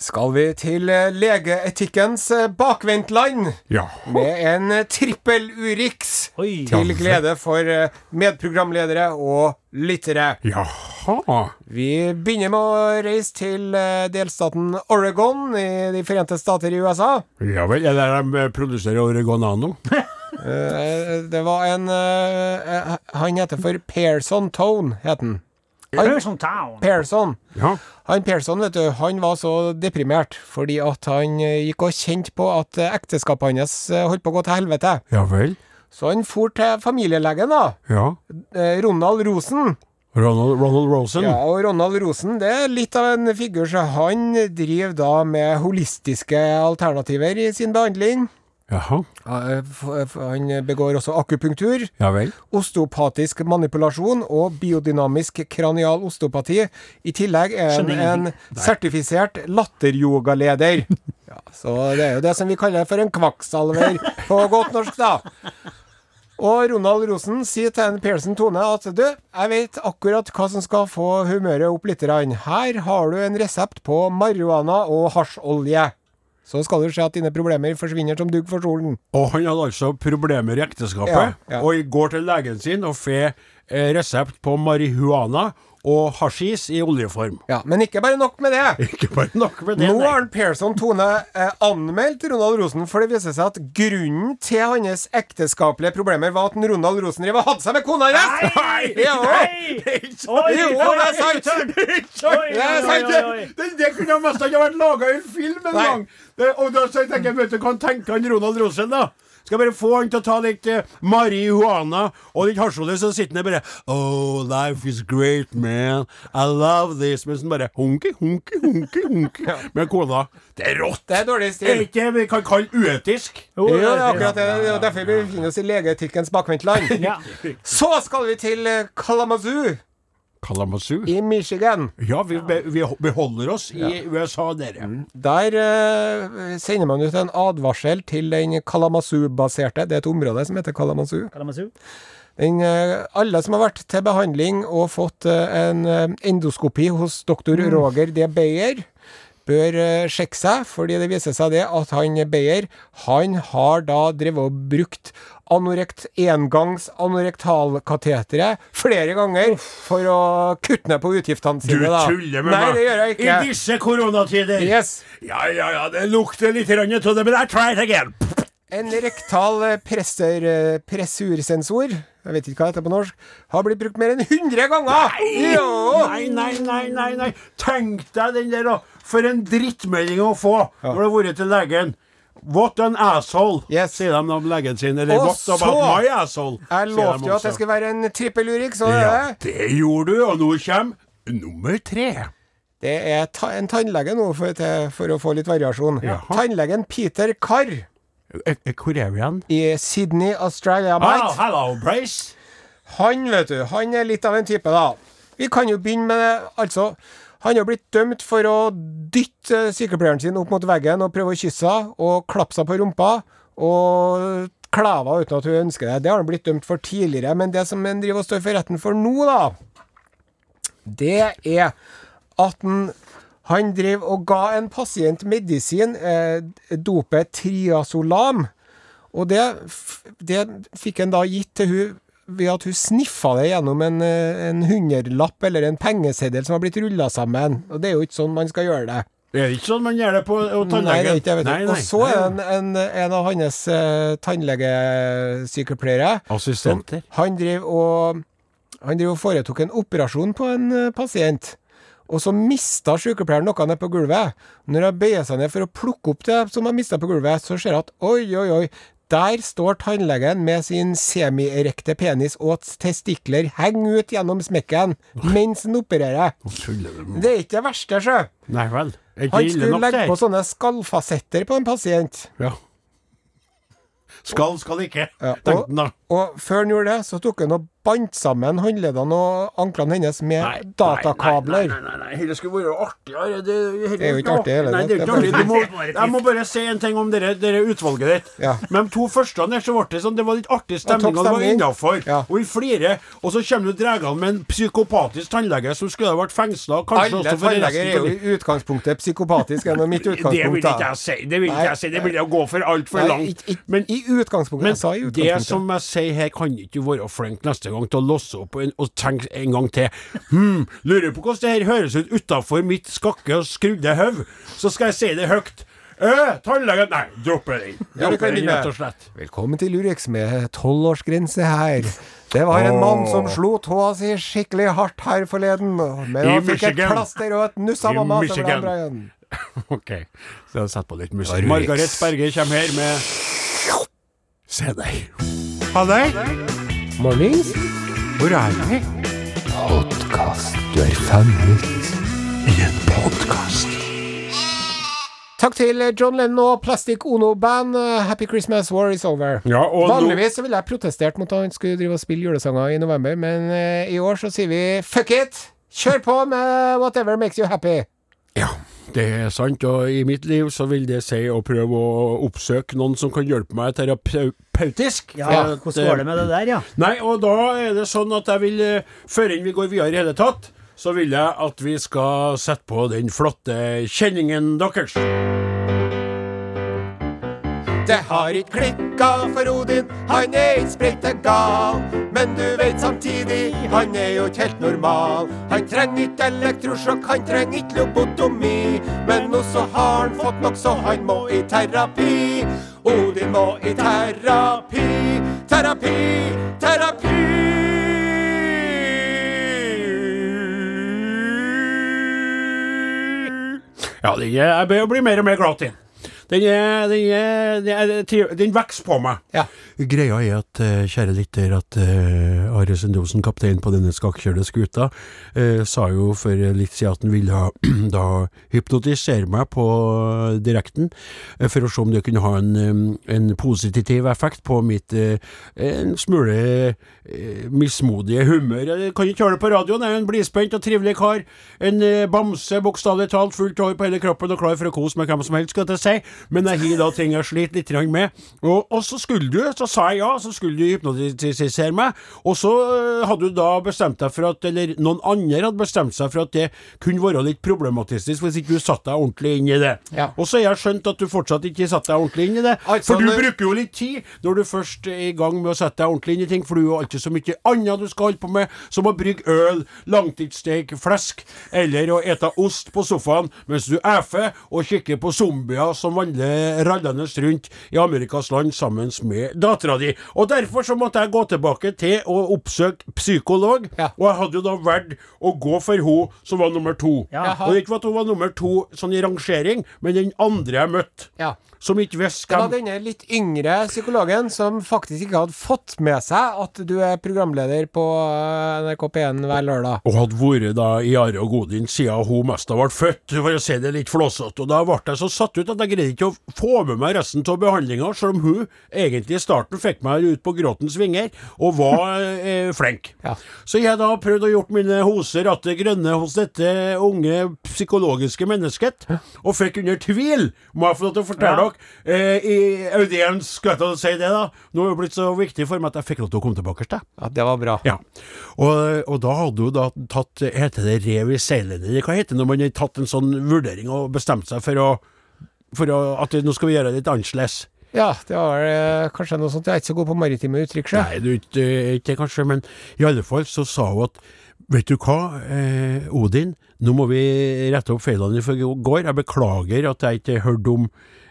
Speaker 3: skal vi til eh, legeetikkens eh, bakvendtland
Speaker 5: Ja.
Speaker 3: med en eh, trippel Urix.
Speaker 4: Oi.
Speaker 3: Til glede for eh, medprogramledere og lyttere.
Speaker 5: Jaha.
Speaker 3: Vi begynner med å reise til eh, delstaten Oregon i De forente stater i USA.
Speaker 5: Ja vel. Er det de
Speaker 2: eh,
Speaker 5: produserer oregonano?
Speaker 3: Eh, Det var en eh, eh, Han heter for Pearson Tone, het han.
Speaker 4: Person Town.
Speaker 3: Pearson.
Speaker 5: Ja.
Speaker 3: Han Pearson, vet du, han var så deprimert fordi at han eh, gikk og kjente på at eh, ekteskapet hans eh, holdt på å gå til helvete.
Speaker 5: Ja vel.
Speaker 3: Så han for til familielegen, da.
Speaker 5: Ja.
Speaker 3: eh, Ronald Rosen.
Speaker 5: Ronald, Ronald Rosen.
Speaker 3: Ja, og Ronald Rosen det er litt av en figur, så han driver da med holistiske alternativer i sin behandling.
Speaker 5: Jaha.
Speaker 3: Ja, eh, f- f- Han begår også akupunktur,
Speaker 5: Ja vel.
Speaker 3: osteopatisk manipulasjon og biodynamisk kranial osteopati. I tillegg er han
Speaker 4: Skjønner
Speaker 3: en sertifisert latteryogaleder. Ja, så det er jo det som vi kaller for en kvakksalver på godt norsk, da. Og Ronald Rosen sier til en Pearson Tone at du, jeg vet akkurat hva som skal få humøret opp litt. grann. Her har du en resept på marihuana og hasjolje. Så skal du se at dine problemer forsvinner som dugg for solen.
Speaker 2: Og han hadde altså problemer i ekteskapet,
Speaker 3: Ja, ja.
Speaker 2: og går til legen sin og får eh, resept på marihuana og hasjis i oljeform.
Speaker 3: Ja, Men ikke bare nok med det.
Speaker 2: Ikke bare nok med det.
Speaker 3: Nå
Speaker 2: nei.
Speaker 3: har Pearson Tone eh, anmeldt Ronald Rosen, for det viser seg at grunnen til hans ekteskapelige problemer var at en Ronald Rosen drev og hadde seg med kona hans!
Speaker 4: Nei!
Speaker 3: Jo.
Speaker 4: Oi,
Speaker 3: Jo,
Speaker 4: oi,
Speaker 3: det er sant.
Speaker 4: tørt. Oi,
Speaker 3: Det er
Speaker 4: oi,
Speaker 3: sant.
Speaker 4: oi, oi.
Speaker 2: Det, det kunne nesten ikke vært laga en film en
Speaker 3: Nei.
Speaker 2: gang! Det, og da så tenker jeg, vet du hva han tenker, han Ronald Rosen, da? Skal jeg bare få han til å ta litt eh, marihuana og litt hasjolje, så sitter han der bare Oh, life is great, man. I love this. Mens han bare hunke, hunke, hunke, hunke. Med kona. Det er rått!
Speaker 3: Det er dårlig
Speaker 2: Det er
Speaker 3: stil.
Speaker 2: ikke det vi kan kalle uetisk.
Speaker 4: Jo,
Speaker 3: Jo,
Speaker 4: det
Speaker 3: det er
Speaker 4: er
Speaker 3: akkurat det. Det er jo derfor vi befinner oss i legeetikkens bakvendtland.
Speaker 4: Ja.
Speaker 3: Så skal vi til eh, Kalamazoo
Speaker 2: Kalamazoo.
Speaker 3: i Michigan.
Speaker 2: Ja, vi, be, vi beholder oss i USA, dere.
Speaker 3: Mm. Der eh, sender man ut en advarsel til den Kalamazoo-baserte Det er et område som heter Kalamazoo.
Speaker 4: Kalamazoo.
Speaker 3: Den, eh, alle som har vært til behandling og fått eh, en eh, endoskopi hos doktor
Speaker 2: Mm.
Speaker 3: Roger D. Beyer, bør eh, sjekke seg, fordi det viser seg det at han Beyer han har da drevet og brukt anorekt, engangs anorektalkatetere flere ganger for å kutte ned på utgiftene
Speaker 2: Du
Speaker 3: sine. da.
Speaker 2: tuller med
Speaker 3: Nei,
Speaker 2: meg!
Speaker 3: det gjør jeg
Speaker 2: I
Speaker 3: ikke.
Speaker 2: disse koronatider!
Speaker 3: Yes.
Speaker 2: Ja, ja, ja, det lukter litt av det, men I try it again!
Speaker 3: En rektal eh, presser, eh, pressursensor, jeg vet ikke hva det heter på norsk, har blitt brukt mer enn 100 ganger! Nei! Jo!
Speaker 2: Nei, nei, nei, nei, nei. Tenk deg den der, da. For en drittmelding å få når du har vært til legen. What an asshole,
Speaker 3: Yes.
Speaker 2: sier de om legen sin. Eller
Speaker 3: Og
Speaker 2: what about
Speaker 3: så-
Speaker 2: my asshole?
Speaker 3: Jeg
Speaker 2: sier
Speaker 3: lovte
Speaker 2: de
Speaker 3: jo at
Speaker 2: også.
Speaker 3: det skulle være en trippelurix, så det
Speaker 2: Ja,
Speaker 3: er det.
Speaker 2: det gjorde du, og nå kommer nummer tre.
Speaker 3: Det er ta en tannlege nå for, til, for å få litt variasjon. Tannlegen Peter Carr
Speaker 2: Eh, eh, Hvor er vi igjen?
Speaker 3: i Sydney, Australia
Speaker 2: Ah,
Speaker 3: Mate.
Speaker 2: hello, Brace.
Speaker 3: Han, vet du, han er litt av en type, da. Vi kan jo begynne med det, altså. Han er blitt dømt for å dytte eh, sykepleieren sin opp mot veggen og prøve å kysse henne, og klappe seg på rumpa, og klæva uten at hun ønsker det. Det har han blitt dømt for tidligere, men det som han driver og står for retten for nå, da, det er at han han drev og ga en pasient medisin, eh, dopet triazolam, og det, f- det fikk han da gitt til hun ved at hun sniffa det gjennom en, eh, en hundrelapp eller en pengeseddel som har blitt rulla sammen. Og det er jo ikke sånn man skal gjøre det.
Speaker 2: Det er ikke sånn man gjør det på og
Speaker 3: Nei, det er
Speaker 2: tannlegen.
Speaker 3: ikke, jeg vet
Speaker 2: Nei,
Speaker 3: ikke.
Speaker 2: nei,
Speaker 3: Og så
Speaker 2: nei,
Speaker 3: er
Speaker 2: nei.
Speaker 3: en, en, en av hans eh, tannlegesykepleiere
Speaker 2: Assistenter.
Speaker 3: Han driver og Han driver og foretok en operasjon på en eh, pasient. Og så mista sykepleieren noe nede på gulvet. Når hun bøyer seg ned for å plukke opp det som hun mista på gulvet, så ser hun at oi, oi, oi, der står tannlegen med sin semierekte penis og testikler henger ut gjennom smekken mens han opererer.
Speaker 2: Tuller du med
Speaker 3: Det er ikke det verste, sjø.
Speaker 2: Nei vel. Er ikke
Speaker 3: Han
Speaker 2: ille
Speaker 3: skulle
Speaker 2: nok, det
Speaker 3: legge
Speaker 2: her?
Speaker 3: på sånne skallfasetter på en pasient.
Speaker 2: Ja. Skal, skal ikke,
Speaker 3: Ja,
Speaker 2: tenkte
Speaker 3: og-
Speaker 2: han da.
Speaker 3: Og før han gjorde det, så tok han og bandt sammen håndleddene og anklene hennes med datakabler.
Speaker 2: Nei, nei, nei, nei, dette skulle være artigere. Det,
Speaker 3: Det er jo ikke artig, heller,
Speaker 2: Nei, det er ikke
Speaker 3: det
Speaker 2: artig.
Speaker 3: er
Speaker 2: Du må,
Speaker 4: bare-
Speaker 2: jeg må bare si en ting om dere, dere utvalget ditt.
Speaker 3: Ja.
Speaker 2: Men de to første der, så ble det sånn, det var litt artig stemning,
Speaker 3: topp
Speaker 2: og det var
Speaker 3: stemning.
Speaker 2: innafor.
Speaker 3: Ja.
Speaker 2: Og vi flirer. Og så kommer jo dregene med en psykopatisk tannlege som skulle ha vært fengsla, kanskje
Speaker 3: Alle
Speaker 2: også for
Speaker 3: tannleger
Speaker 2: resten
Speaker 3: er
Speaker 2: av
Speaker 3: jo
Speaker 2: livet.
Speaker 3: i utgangspunktet psykopatiske gjennom mitt utgangspunkt.
Speaker 2: Det vil ikke
Speaker 3: da.
Speaker 2: jeg si. Det vil ikke
Speaker 3: Nei.
Speaker 2: jeg si. Det vil jeg gå for altfor
Speaker 3: Nei,
Speaker 2: langt.
Speaker 3: ikke- ikke-
Speaker 2: Men
Speaker 3: I utgangspunktet.
Speaker 2: Men
Speaker 3: jeg sa i
Speaker 2: det
Speaker 3: utgangspunktet.
Speaker 2: som jeg sier her, kan ikke du være flink neste gang til å låse opp og, og tenke en gang til. Hm, lurer på hvordan det her høres ut utafor mitt skakke og skrudde høv. Så skal jeg si det høyt. Ø, tannlegen Nei, dropper den.
Speaker 3: Ja, du
Speaker 2: Dropper
Speaker 3: kan
Speaker 2: den,
Speaker 3: gjøre
Speaker 2: rett og
Speaker 3: det.
Speaker 2: slett.
Speaker 3: Velkommen til Urix med tolvårsgrense her. Det var en mann som slo tåa si skikkelig hardt her forleden, men
Speaker 2: I
Speaker 3: han fikk et
Speaker 2: Michigan.
Speaker 3: plaster og et nuss av
Speaker 2: I
Speaker 3: mamma. så ble
Speaker 2: Michigan.
Speaker 3: han bra igjen.
Speaker 2: OK. Så jeg setter på litt musikk. Margaret Berge kommer her med Se deg. Ha det.
Speaker 3: Mornings.
Speaker 2: Hvor er vi?
Speaker 3: Takk til John Lennon og Plastic Ono Band. eh, Happy Christmas, War is over.
Speaker 2: Ja, og nå-
Speaker 3: Vanligvis så ville jeg protestert mot at han skulle drive og spille julesanger i november, men eh, i år så sier vi fuck it! Kjør på med whatever makes you happy.
Speaker 2: Ja, det er sant, og i mitt liv så vil det si å prøve å oppsøke noen som kan hjelpe meg terapeutisk.
Speaker 4: Ja,
Speaker 3: Ja,
Speaker 4: hvordan går det med det der, ja?
Speaker 2: Nei, og da er det sånn at jeg vil, eh, før enn vi går videre i hele tatt, så vil jeg at vi skal sette på den flotte kjenningen deres.
Speaker 3: Det har ikke klikka for Odin, han er ikke sprette gal. Men du vet samtidig, han er jo ikke helt normal. Han trenger ikke elektrosjokk, han trenger ikke lobotomi. Men nå så har han fått nok, så han må i terapi. Odin må i terapi, terapi, terapi.
Speaker 2: Ja, den er, jeg bør bli mer og mer glad til. Den er, den er, den er, triv- den vokser på meg.
Speaker 3: Ja.
Speaker 2: Greia er at, eh, kjære lytter, at eh, Are Sendosen, kaptein på denne skakkjørte skuta, eh, sa jo for litt siden at han ville ha, da hypnotisere meg på direkten, eh, for å se om det kunne ha en, eh, en positiv effekt på mitt eh, en smule eh, mismodige humør. Jeg kan ikke høre det på radioen, jeg er en blidspent og trivelig kar. En eh, bamse, bokstavelig talt, fullt hår på hele kroppen og klar for å kose med hvem som helst, skal jeg til å si. Men jeg har da ting jeg sliter litt grann med. Og, og så skulle du, så sa jeg ja, så skulle du hypnotisere meg. Og så eh, hadde du da bestemt deg for at, eller noen andre hadde bestemt seg for at det kunne være litt problematistisk hvis ikke du satte deg ordentlig inn i det.
Speaker 3: Ja.
Speaker 2: Og så har jeg skjønt at du fortsatt ikke satte deg ordentlig inn i det.
Speaker 3: Altså,
Speaker 2: for du
Speaker 3: når-
Speaker 2: bruker jo litt tid når du først er i gang med å sette deg ordentlig inn i ting, for du har jo alltid så mye annet du skal holde på med, som å brygge øl, langtidssteik flesk, eller å ete ost på sofaen mens du æfer og kikker på zombier som vandrer rallende rundt i Amerikas land sammen med dattera di. Og derfor så måtte jeg gå tilbake til å oppsøke psykolog,
Speaker 3: Ja.
Speaker 2: og jeg hadde jo da valgt å gå for hun som var nummer to.
Speaker 4: Ja.
Speaker 2: Og det er ikke for at hun var nummer to sånn i rangering, men den andre jeg møtte.
Speaker 3: Ja.
Speaker 2: Som ikke visste
Speaker 3: Det var
Speaker 2: hvem
Speaker 3: denne litt yngre psykologen som faktisk ikke hadde fått med seg at du er programleder på eh, NRK P1 hver lørdag.
Speaker 2: og hadde vært da i Are og Godin siden hun mest har vært født, for å si det litt flåsete. Og da ble jeg så satt ut at jeg greide ikke ikke å få med meg resten av behandlinga, selv om hun egentlig i starten fikk meg ut på gråtens vinger, og var eh, flink.
Speaker 3: Ja.
Speaker 2: Så jeg da prøvd å gjort mine hoser atter grønne hos dette unge psykologiske mennesket, og fikk under tvil, må jeg få lov til å fortelle
Speaker 4: Ja.
Speaker 2: dere, eh, i audiens, skal jeg ta og si det da, nå er det blitt så viktig for meg at jeg fikk lov til å komme tilbake til deg.
Speaker 3: Ja, det var bra.
Speaker 2: Ja, og, og da hadde hun da tatt Heter det rev i seilene? Eller Hva heter det når man har tatt en sånn vurdering og bestemt seg for å for å, at nå skal vi gjøre det litt annerledes.
Speaker 3: Ja, det var eh, kanskje noe sånt. Jeg er ikke så god på maritime uttrykk, sjø.
Speaker 2: Nei, du er ikke er ikke det kanskje, men i alle fall så sa hun at Vet du hva, eh, Odin, nå må vi rette opp feilene fra i går. Jeg beklager at jeg ikke hørte om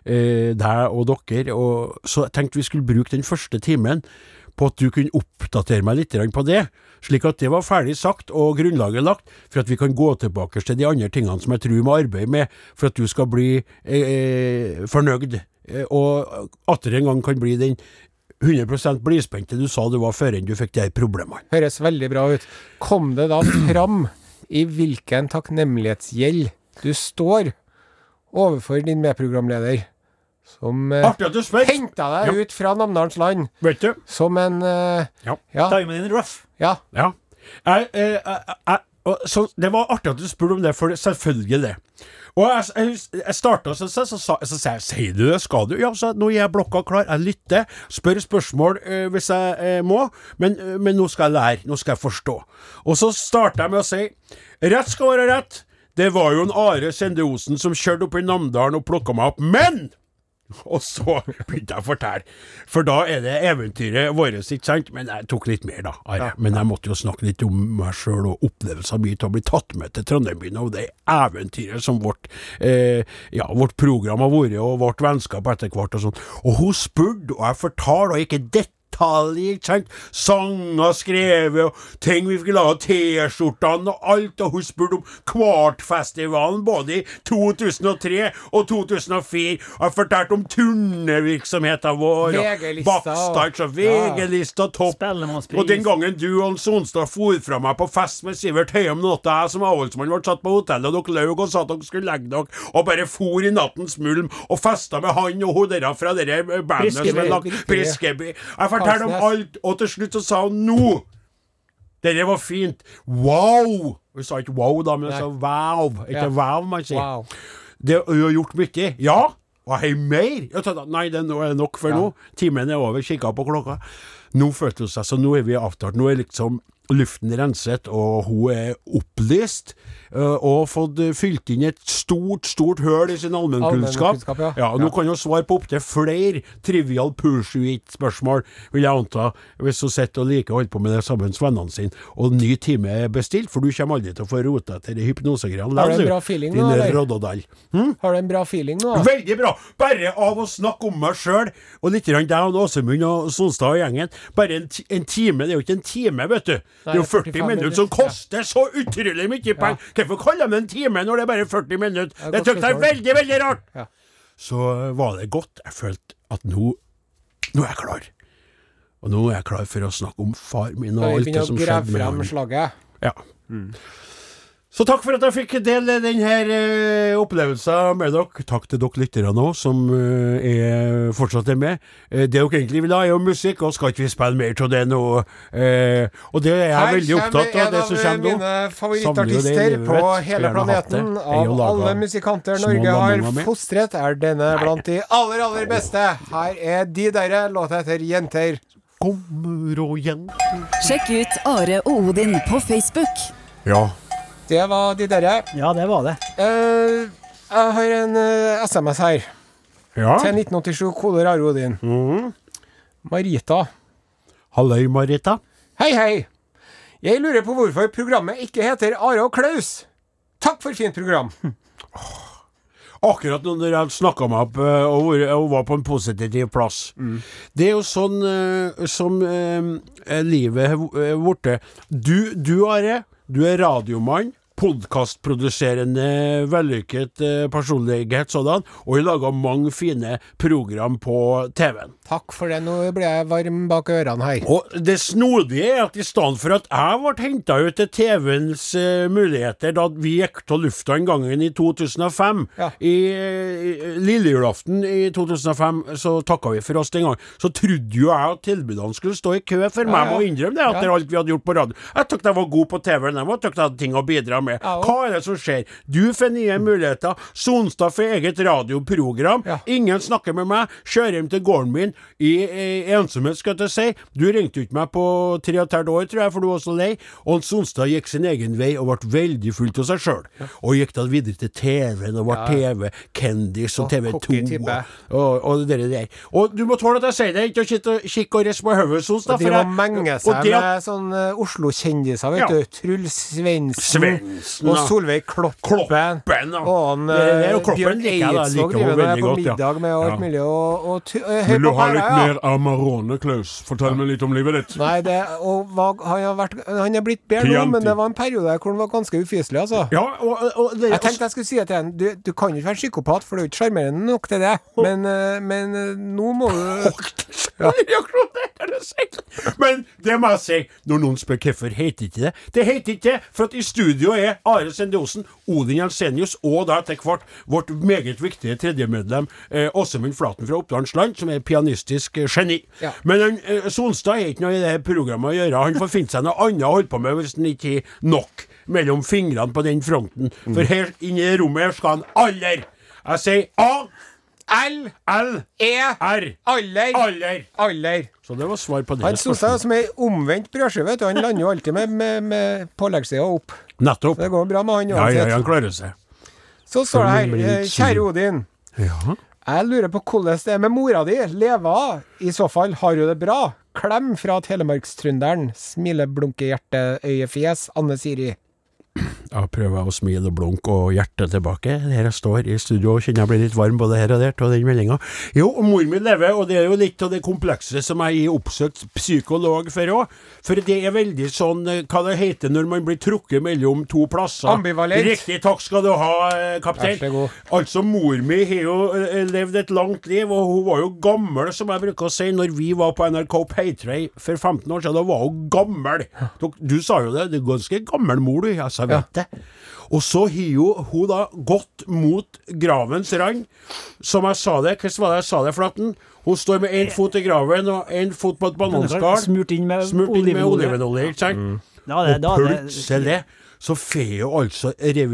Speaker 2: eh, deg og dere, og så jeg tenkte vi skulle bruke den første timen på at du kunne oppdatere meg litt grann på det, slik at det var ferdig sagt og grunnlaget lagt for at vi kan gå tilbake til de andre tingene som jeg tror vi må arbeide med for at du skal bli eh, fornøyd, eh, og atter en gang kan bli den 100 blidspente du sa du var før enn du fikk de her problemene.
Speaker 3: Høres veldig bra ut. Kom det da fram i hvilken takknemlighetsgjeld du står overfor din medprogramleder, som eh,
Speaker 2: Artig at du spør!
Speaker 3: henta deg ut fra Namdalens land
Speaker 2: Vet du?
Speaker 3: som en eh,
Speaker 2: Ja.
Speaker 3: ja,
Speaker 4: Timen in rough.
Speaker 3: ja.
Speaker 2: Ja. Jeg, eh, jeg, jeg, og, så, det var artig at du spurte om det, for det- selvfølgelig det. Og jeg, jeg, hus- jeg starta, så, så, så, sa- så sa jeg Sier du det, skal du? Ja, så nå er jeg blokka klar. Jeg lytter, spør spørsmål eh, hvis jeg eh, må, men, eh, men nå skal jeg lære. Nå skal jeg forstå. Og så starta jeg med å si Rett skal være rett. Det var jo en Are Sende Osen som kjørte opp i Namdalen og plukka meg opp, men og så begynte jeg å fortelle. For da er det eventyret vårt, ikke sant? Men jeg tok litt mer, da. Are. Men jeg måtte jo snakke litt om meg sjøl og opplevelsen min av å bli tatt med til Trondheimbyen og det eventyret som vårt, eh, ja, vårt program har vært, og vårt vennskap etter hvert og sånn. Og hun spurte, og jeg fortalte, og ikke dette detaljer, ikke sant? Sanger skrevet, og ting vi skulle ha, T-skjortene og alt, og hun spurte om Kvartfestivalen både i 2003 og 2004, og jeg fortalte om turnevirksomheten vår, og
Speaker 3: VG-lista,
Speaker 2: Backstage og
Speaker 3: og- ja.
Speaker 2: VG-lista, topp,
Speaker 4: Spellemannspris.
Speaker 2: og den gangen du og Hans Onstad for fra meg på fest med Sivert Høyem natta, jeg som avholdsmann ble satt på hotellet, og dere løg og sa at dere skulle legge dere, og bare for i nattens mulm, og festa med han og hun dere fra det der bandet som
Speaker 3: Briskeby.
Speaker 2: er lagt Briskeby. Jeg fortalte om
Speaker 3: Karlsnes.
Speaker 2: alt, og til slutt så sa hun nå! Dette var fint. Wow! Hun sa ikke wow, da, men hun
Speaker 3: Nei.
Speaker 2: sa wow. Ikke
Speaker 3: Ja.
Speaker 2: wow, man sier.
Speaker 3: Wow.
Speaker 2: Det hun har gjort mye. Ja! Og jeg har mer! Jeg tenkte, nei, det er nå- er nok for nå. Timen er over, kikka på klokka. Nå følte hun seg så nå er vi avtalt. Nå er liksom luften renset, og hun er opplyst. øh, Og fått øh, fylt inn et stort, stort høl i sin allmennkunnskap.
Speaker 3: Allmennkunnskap, ja.
Speaker 2: Ja, og nå kan hun svare på opptil flere trivial pursuit-spørsmål, vil jeg anta, hvis hun sitter og liker å holde på med det sammen med vennene sine. Og ny time er bestilt, for du kommer aldri til å få rota etter de hypnosegreiene.
Speaker 3: Har du en
Speaker 2: likevel,
Speaker 3: bra feeling
Speaker 2: din
Speaker 3: nå, eller?
Speaker 2: Roddodal.
Speaker 3: Har du en bra feeling nå? da?
Speaker 2: Veldig bra! Bare av å snakke om meg sjøl, og litt grann deg og Åsemund og Sonstad og gjengen. Bare en, ti- en time, det er jo ikke en time, vet du. Det er jo
Speaker 3: 45
Speaker 2: 40 minutter som
Speaker 3: minutter, ja.
Speaker 2: koster så utrolig mye penger! Hvorfor kaller de det en time når det er bare 40 minutter?
Speaker 3: er
Speaker 2: Det
Speaker 3: godt
Speaker 2: syns jeg er
Speaker 3: betalt.
Speaker 2: veldig, veldig rart!
Speaker 3: Ja.
Speaker 2: Så var det godt. Jeg følte at nå Nå er jeg klar. Og nå er jeg klar for å snakke om far min og
Speaker 3: Skal vi
Speaker 2: alt det
Speaker 3: begynne å
Speaker 2: som
Speaker 3: grave
Speaker 2: skjedde med
Speaker 3: frem
Speaker 2: ham.
Speaker 3: slaget?
Speaker 2: Ja. Så takk for at jeg fikk dele denne opplevelsen med dere. Takk til dere lyttere nå, som eh, er fortsatt er med. Eh, det dere egentlig vil ha, er jo musikk, og skal ikke vi spille mer av det nå? eh, og det er jeg veldig opptatt av, det som
Speaker 3: en av
Speaker 2: kommer nå.
Speaker 3: mine
Speaker 2: Samler
Speaker 3: favorittartister
Speaker 2: det,
Speaker 3: på
Speaker 2: vet,
Speaker 3: hele
Speaker 2: skulle gjerne hatt det.
Speaker 3: planeten.
Speaker 2: Jeg er jo
Speaker 3: Av
Speaker 2: laget
Speaker 3: alle
Speaker 2: av
Speaker 3: musikanter
Speaker 2: små
Speaker 3: Norge
Speaker 2: lamminger
Speaker 3: har
Speaker 2: med.
Speaker 3: fostret, er denne blant de aller, aller beste. Her er de derre. Låta heter Jenter.
Speaker 2: Kommer og igjen.
Speaker 6: Sjekk ut Are og Odin på Facebook.
Speaker 2: Ja.
Speaker 3: Det var de derre.
Speaker 4: Ja, det var det.
Speaker 3: Eh, jeg har en eh, SMS her.
Speaker 2: ja.
Speaker 3: Til 1987, kode Rare Odin.
Speaker 2: Mhm.
Speaker 3: Marita.
Speaker 2: Halløy, Marita.
Speaker 3: Hei, hei. Jeg lurer på hvorfor programmet ikke heter Are og Klaus. Takk for fint program.
Speaker 2: Akkurat når jeg snakka meg opp eh, og, vært- og var på en positiv plass. Det er jo sånn eh, som eh, livet har blitt. Du, du Are, du er radiomann, podkastproduserende, vellykket eh, personlighet sådan, og har laga mange fine program på TV-en.
Speaker 3: Takk for det, nå blir jeg varm bak ørene her.
Speaker 2: Og det snodige er at i stedet for at jeg ble henta ut til TV-ens eh, muligheter da vi gikk av lufta en gang i 2005,
Speaker 3: Ja.
Speaker 2: i, i lille julaften i 2005, så takka vi for oss den gangen, så trodde jo jeg at tilbudene skulle stå i kø for meg, jeg må innrømme det, etter
Speaker 3: Ja.
Speaker 2: alt vi hadde gjort på radio. Jeg tykte jeg var god på TV-en, jeg tykte jeg hadde ting å bidra med.
Speaker 3: Ja, og-
Speaker 2: Hva er det som skjer? Du får nye muligheter, Sonstad får eget radioprogram,
Speaker 3: Ja.
Speaker 2: ingen snakker med meg, kjører hjem til gården min i, eh, ensomhet, skal jeg til å si. Du ringte jo ikke meg på tre og et halvt år, tror jeg, for du var så lei. Og Sonstad gikk sin egen vei og ble veldig full av seg sjøl. Og gikk da videre til TV-en og ble TV-kendis og
Speaker 3: Og
Speaker 2: TV2
Speaker 3: kokketippe.
Speaker 2: og, og, og det der. Og du må tåle at jeg sier det, ikke å sitte og kikke og riste på hodet, Sonstad.
Speaker 3: Og de
Speaker 2: for
Speaker 3: må
Speaker 2: jeg-
Speaker 3: menge
Speaker 2: og
Speaker 3: seg
Speaker 2: det at-
Speaker 3: med sånn eh, Oslo-kjendiser, vet
Speaker 2: Ja.
Speaker 3: du. Truls Svendsen.
Speaker 2: Svendsen,
Speaker 3: Og
Speaker 2: ja.
Speaker 3: Solveig Kloppen.
Speaker 2: Kloppen, ja.
Speaker 3: og han,
Speaker 2: Det- det er jo
Speaker 3: eh,
Speaker 2: Kloppen
Speaker 3: Bjørn
Speaker 2: liker jeg da, jeg liker
Speaker 3: Eidsvåg
Speaker 2: henne
Speaker 3: driver og er
Speaker 2: veldig
Speaker 3: på
Speaker 2: godt, ja.
Speaker 3: middag med alt
Speaker 2: Ja.
Speaker 3: mulig. Og, og tu- eh, høy
Speaker 5: Vil du
Speaker 3: på
Speaker 5: ha
Speaker 3: pæra,
Speaker 5: litt
Speaker 3: ja.
Speaker 5: mer Amarone, Klaus? Fortell meg litt om livet ditt.
Speaker 3: Nei, det, og hva, han, har vært, han er blitt bedre nå,
Speaker 5: Chianti.
Speaker 3: men det var en periode hvor han var ganske ufyselig, altså.
Speaker 2: Ja, og, og det,
Speaker 3: Jeg tenkte jeg skulle si det til ham. Du, du kan jo ikke være psykopat, for du er jo ikke sjarmerende nok til det. Men, eh, men eh, nå må du
Speaker 2: Ja. Men det må jeg si, når noen spør hvorfor heter ikke det Det heter ikke det, for at i studio er Are Sende Osen, Odin Jensenius og da etter hvert vårt meget viktige tredjemedlem eh, Åsemund Flaten fra Oppdalens Land, som er pianistisk eh, geni.
Speaker 3: Ja.
Speaker 2: Men han, eh, Sonstad er ikke noe i det programmet å gjøre. Han får finne seg noe annet å holde på med hvis han ikke har nok mellom fingrene på den fronten. For her inne i det rommet her skal han aller Jeg sier A,
Speaker 3: L,
Speaker 2: L,
Speaker 3: E,
Speaker 2: R.
Speaker 3: aller,
Speaker 2: Aller.
Speaker 3: aller.
Speaker 2: Så det var svar på det.
Speaker 3: Han Solstad
Speaker 2: spørsmålet.
Speaker 3: er som ei omvendt brødskive, vet du. Han lander jo alltid med, med, med påleggssida opp.
Speaker 2: Nettopp.
Speaker 3: Det går bra med han
Speaker 2: Ja, ja,
Speaker 3: uansett.
Speaker 2: han klarer seg.
Speaker 3: Så står det
Speaker 2: Som en
Speaker 3: her, eh,
Speaker 2: blid sol.
Speaker 3: kjære Odin. Jeg lurer på hvordan det er med mora di. Leve av? I så fall har hun det bra. Klem fra telemarkstrønderen. Smileblunke-hjerte-øye-fjes. Anne Siri.
Speaker 2: Da prøver jeg å smile og blunke og hjertet tilbake. Her jeg står i studio og kjenner jeg blir litt varm både her og der av den meldinga. Jo, og mor mi lever, og det er jo litt av det komplekse som jeg har oppsøkt psykolog for òg. For det er veldig sånn eh, hva det heter når man blir trukket mellom to plasser.
Speaker 3: Ambivalent.
Speaker 2: Riktig, takk skal du ha, eh, kaptein.
Speaker 3: Vær så god.
Speaker 2: Altså, mor mi har jo eh, levd et langt liv, og hun var jo gammel, som jeg bruker å si, når vi var på NRK Paytray for 15 år siden. Da var hun gammel. Du, du sa jo det, du er ganske gammel mor, du. Ja, så jeg vet det. Og så har jo hun da gått mot gravens rand, som jeg sa det. Hvordan var det jeg sa det, Flatten? Hun står med én fot i graven og én fot på et bananskall.
Speaker 4: Smurt inn med
Speaker 2: Smurt inn med
Speaker 4: olivenolje. Mm.
Speaker 2: olivenolje, ikke sant?
Speaker 4: Ja, det- da
Speaker 2: og
Speaker 4: er det-
Speaker 2: plutselig så får hun altså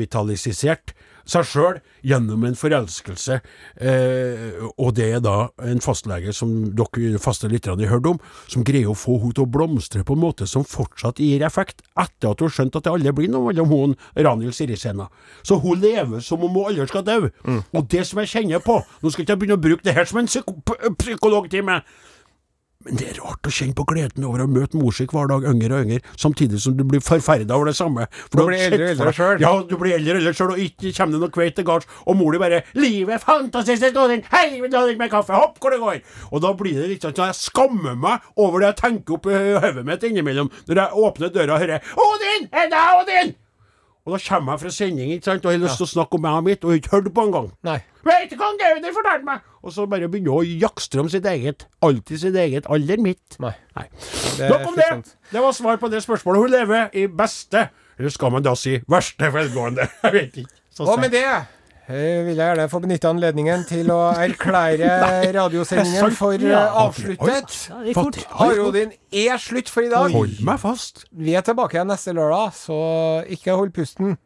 Speaker 2: revitalisert seg sjøl gjennom en forelskelse, eh, og det er da en fastlege som dere faste lytterne har hørt om, som greier å få henne til å blomstre på en måte som fortsatt gir effekt, etter at hun skjønte at det aldri blir noe mellom hun og Ranhild Sirisena. Så hun lever som om hun aldri skal dø.
Speaker 4: Mm.
Speaker 2: Og det som jeg kjenner på Nå skal ikke jeg begynne å bruke det her som en psyko p- psykologtime, men det er rart å kjenne på gleden over å møte mor si hver dag, yngre og yngre, samtidig som du blir forferda over det samme. For
Speaker 3: Du
Speaker 2: har
Speaker 3: blir
Speaker 2: sett
Speaker 3: eldre
Speaker 2: for deg-
Speaker 3: og eldre selv.
Speaker 2: Ja, du blir eldre og eldre sjøl, og ikke kommer det noe kveit til gards, og mor di bare 'Livet er fantastisk, Odin! Hei, vil du ha litt mer kaffe? Hopp hvor det går!' Og da blir det litt sånn at jeg skammer meg over det jeg tenker opp i hodet mitt innimellom, når jeg åpner døra og hører 'Odin! Er det deg, Odin?' Og da kommer jeg fra sending ikke sant, og har lyst til å snakke om meg og mitt, og har ikke hørt på engang.
Speaker 3: Nei.
Speaker 2: Veit du hva han Gauder fortalte meg? Og så bare begynner hun å jakste om sitt eget. Alltid sitt eget. Aller mitt.
Speaker 3: Nei.
Speaker 2: Nei.
Speaker 3: Det
Speaker 2: Nok om det!
Speaker 3: slitsomt.
Speaker 2: Det var svar på det spørsmålet. Hun lever i beste, eller skal man da si verste velgående? Jeg vet ikke. Så
Speaker 3: Og
Speaker 2: sier
Speaker 3: med det eh, vil jeg gjerne få benytte anledningen til å erklære
Speaker 2: sant.
Speaker 3: radiosendingen for eh,
Speaker 4: Ja.
Speaker 3: avsluttet.
Speaker 4: Ja, det gikk
Speaker 2: Fant-
Speaker 4: fort.
Speaker 3: Haro din er slutt for i dag.
Speaker 2: Hold meg fast.
Speaker 3: Vi er tilbake igjen neste lørdag, så ikke hold pusten.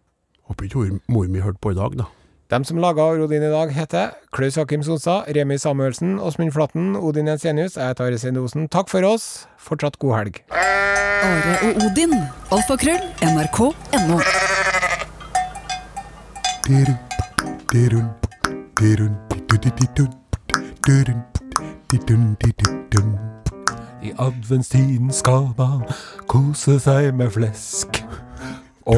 Speaker 2: Håper ikke hor- mor mi hørte på i dag, da.
Speaker 3: Dem som laga Rodin i dag, heter Klaus Hakim Sonstad, Remi Samuelsen, Åsmund Flatten, Odin Jensenius. Jeg heter Are Sendosen. Takk for oss. Fortsatt god helg.
Speaker 6: Are og Odin. Alfakrøll. NRK.no.
Speaker 5: Dirun, dirun, dirun, didididun, dirun, didun, dididun. I adventstiden skal man kose seg med flesk.
Speaker 3: Å,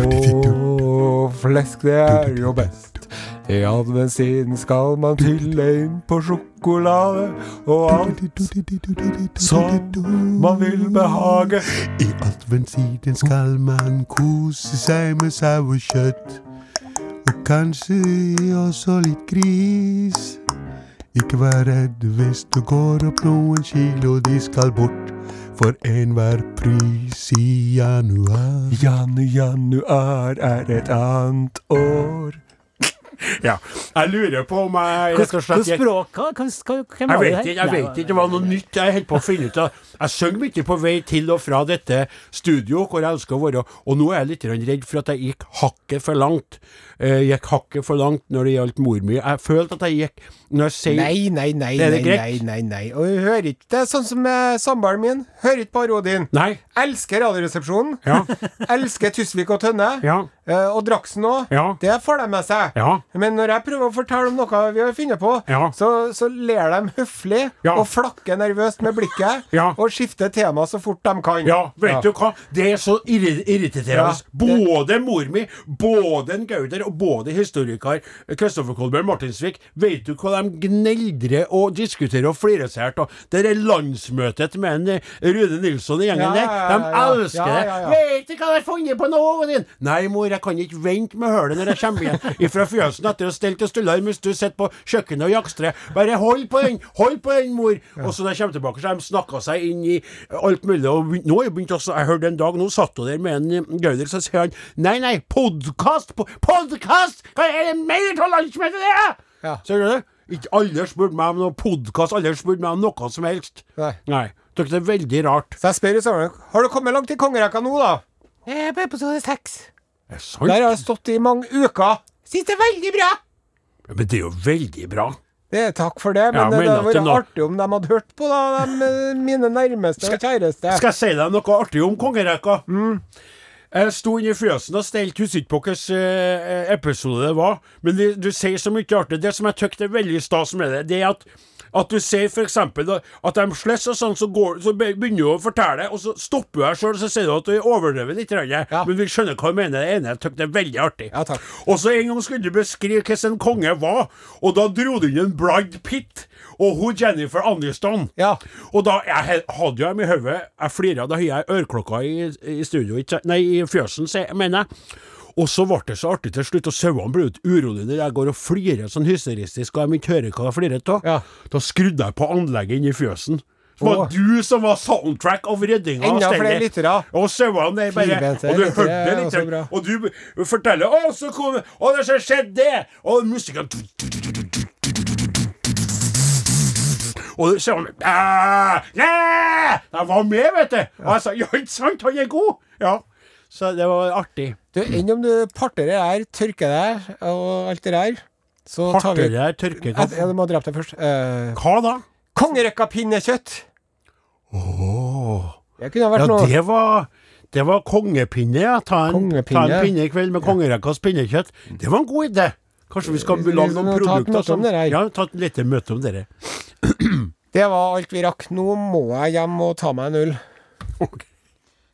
Speaker 3: flesk, det er jo best.
Speaker 5: I adventstiden skal man tylle inn på sjokolade og alt som Sånn. man vil behage.
Speaker 2: I adventstiden skal man kose seg med sau og kjøtt. Og kanskje også litt gris. Ikke vær redd hvis du går opp noen kilo, de skal bort for enhver pris i januar.
Speaker 5: Janu, januar er et annet år.
Speaker 2: Ja, jeg lurer på om jeg rett og slett
Speaker 4: Hvilket språk hva- hva- hva- hvem var
Speaker 2: Jeg
Speaker 4: det
Speaker 2: vet
Speaker 4: her?
Speaker 2: ikke, jeg
Speaker 4: Nei,
Speaker 2: vet ikke, det var noe nytt jeg holdt på å finne ut av. Jeg søng mye på vei til og fra dette studio, hvor jeg elsker å være, og nå er jeg litt grann redd for at jeg gikk hakket for langt. Eh, gikk hakket for langt når det gjaldt mor mi. Jeg følte at jeg gikk Når jeg sier
Speaker 3: Nei, nei, nei,
Speaker 2: Er
Speaker 3: nei,
Speaker 2: det
Speaker 3: nei,
Speaker 2: greit?
Speaker 3: nei, nei. Og jeg hører ikke Det er sånn som eh, samboeren min. Hører ikke på Rodin.
Speaker 2: Nei.
Speaker 3: Elsker Radioresepsjonen.
Speaker 2: Ja.
Speaker 3: Elsker Tusvik og Tønne.
Speaker 2: Ja.
Speaker 3: Eh, og Draksen òg.
Speaker 2: Ja.
Speaker 3: Det får de med seg.
Speaker 2: Ja.
Speaker 3: Men når jeg prøver å fortelle om noe vi har funnet på,
Speaker 2: Ja.
Speaker 3: så, så ler de høflig
Speaker 2: Ja.
Speaker 3: og flakker nervøst med blikket
Speaker 2: Ja.
Speaker 3: og skifter tema så fort de kan.
Speaker 2: Ja, vet du hva? Det er så irri- irriterende.
Speaker 3: Ja, det-
Speaker 2: Både mor mi, både en Gauder og både historiker Kristoffer Kolbjørn Martinsvik, vet du hva de gneldrer og diskuterer og flirer seg her av? Det er landsmøtet med en eh, Rune Nilsson i
Speaker 3: Ja,
Speaker 2: gjengen der.
Speaker 3: ja,
Speaker 2: De
Speaker 3: ja, ja.
Speaker 2: elsker
Speaker 3: Ja,
Speaker 2: det.
Speaker 3: ja, ja.
Speaker 2: Vet du hva jeg har funnet på nå, Odin? Nei, mor, jeg kan ikke vente med hølet når jeg kommer hjem ifra fjøsen etter å ha stelt og stulla i mustu, sitte på kjøkkenet og jakstre. Bare hold på den, hold på den, mor. Og så når jeg kommer tilbake, så har de snakka seg inn i alt mulig. Og begyn- nå har jeg begynt også, jeg hørte en dag, nå satt hun der med en eh, Gauder, så sier han nei, nei, podkast, podkast! Hva er det mer av landsmøtet det er?!
Speaker 3: Ja.
Speaker 2: Ser du det? Ikke alle spurte meg om noe podkast, alle spurte meg om noe som helst.
Speaker 3: Nei.
Speaker 2: nei. Dere, det er veldig rart.
Speaker 3: Så jeg spør i sammenheng Har du kommet langt i kongerekka nå, da? Jeg er på episode seks.
Speaker 2: Det er sant.
Speaker 3: Der har jeg stått i mange uker. Syns det er veldig bra!
Speaker 2: Men det er jo veldig bra.
Speaker 3: Det, takk for det, men
Speaker 2: Ja,
Speaker 3: det
Speaker 2: men
Speaker 3: det hadde
Speaker 2: at
Speaker 3: vært
Speaker 2: det nå-
Speaker 3: artig om de hadde hørt på da, de, eh, mine nærmeste og kjæreste.
Speaker 2: Skal jeg si deg noe artig om kongerekka?
Speaker 3: Mm.
Speaker 2: Jeg sto inne i fjøsen og stelte, husker ikke på hvilken eh, episode det var, men du, du sier så mye artig. Det som jeg tykker er veldig stas med det, det er at at du sier f.eks. at de slåss og sånn, så, går, så be- begynner du å fortelle, og så stopper du deg sjøl, så sier du at du overdriver litt, grann,
Speaker 3: Ja.
Speaker 2: men vi skjønner hva du mener. Det ene jeg tykker det er veldig artig.
Speaker 3: Ja, takk.
Speaker 2: Og så en gang skulle du beskrive hvordan en konge var, og da dro du inn en Bride Pitt og hun Jennifer Aniston.
Speaker 3: Ja.
Speaker 2: Og da jeg, he- hadde jo dem i hodet, jeg flira, da har jeg ørklokka i, i studio, ikke, nei, i fjøsen, se- mener jeg. Og så ble det så artig til slutt, og sauene ble litt urolige når jeg går og flirer sånn hysteristisk, og de ikke hører hva jeg flirer av.
Speaker 3: Ja.
Speaker 2: Da skrudde jeg på anlegget inne i fjøsen. Det var
Speaker 3: Åh.
Speaker 2: du som var soundtrack of redninga.
Speaker 3: Enda
Speaker 2: av
Speaker 3: flere
Speaker 2: stellet.
Speaker 3: lyttere.
Speaker 2: Og sauene der bare
Speaker 3: Firbente
Speaker 2: Og du
Speaker 3: lyttere
Speaker 2: hørte det
Speaker 3: er
Speaker 2: litt.
Speaker 3: også bra.
Speaker 2: Og du b- forteller 'Å, så kom Å, det som skjedde det!' Og musikken Og så var Jeg var med, vet du! Og jeg sa 'Ja, ikke sant? Han er god!' Ja. Så det var artig.
Speaker 3: Du, Enn om du parterer her, tørker deg og alt det der, så tar vi
Speaker 2: Parter der, tørke
Speaker 3: Jeg, jeg må drepe deg først. Eh,
Speaker 2: Hva da?
Speaker 3: kongerekka pinnekjøtt! Det kunne ha vært
Speaker 2: Ja,
Speaker 3: noe.
Speaker 2: det var det var kongepinne, ja. Ta en,
Speaker 3: Kongepinne.
Speaker 2: Ta en pinne i kveld med kongerekkas pinnekjøtt. Det var en god idé. Kanskje vi skal
Speaker 3: Vi- vi-
Speaker 2: lage
Speaker 3: vi
Speaker 2: noen
Speaker 3: må ta et
Speaker 2: produkter
Speaker 3: møte om det her.
Speaker 2: Ja, ta et lite møte om dere.
Speaker 3: Det var alt vi rakk. Nå må jeg hjem og ta meg en øl.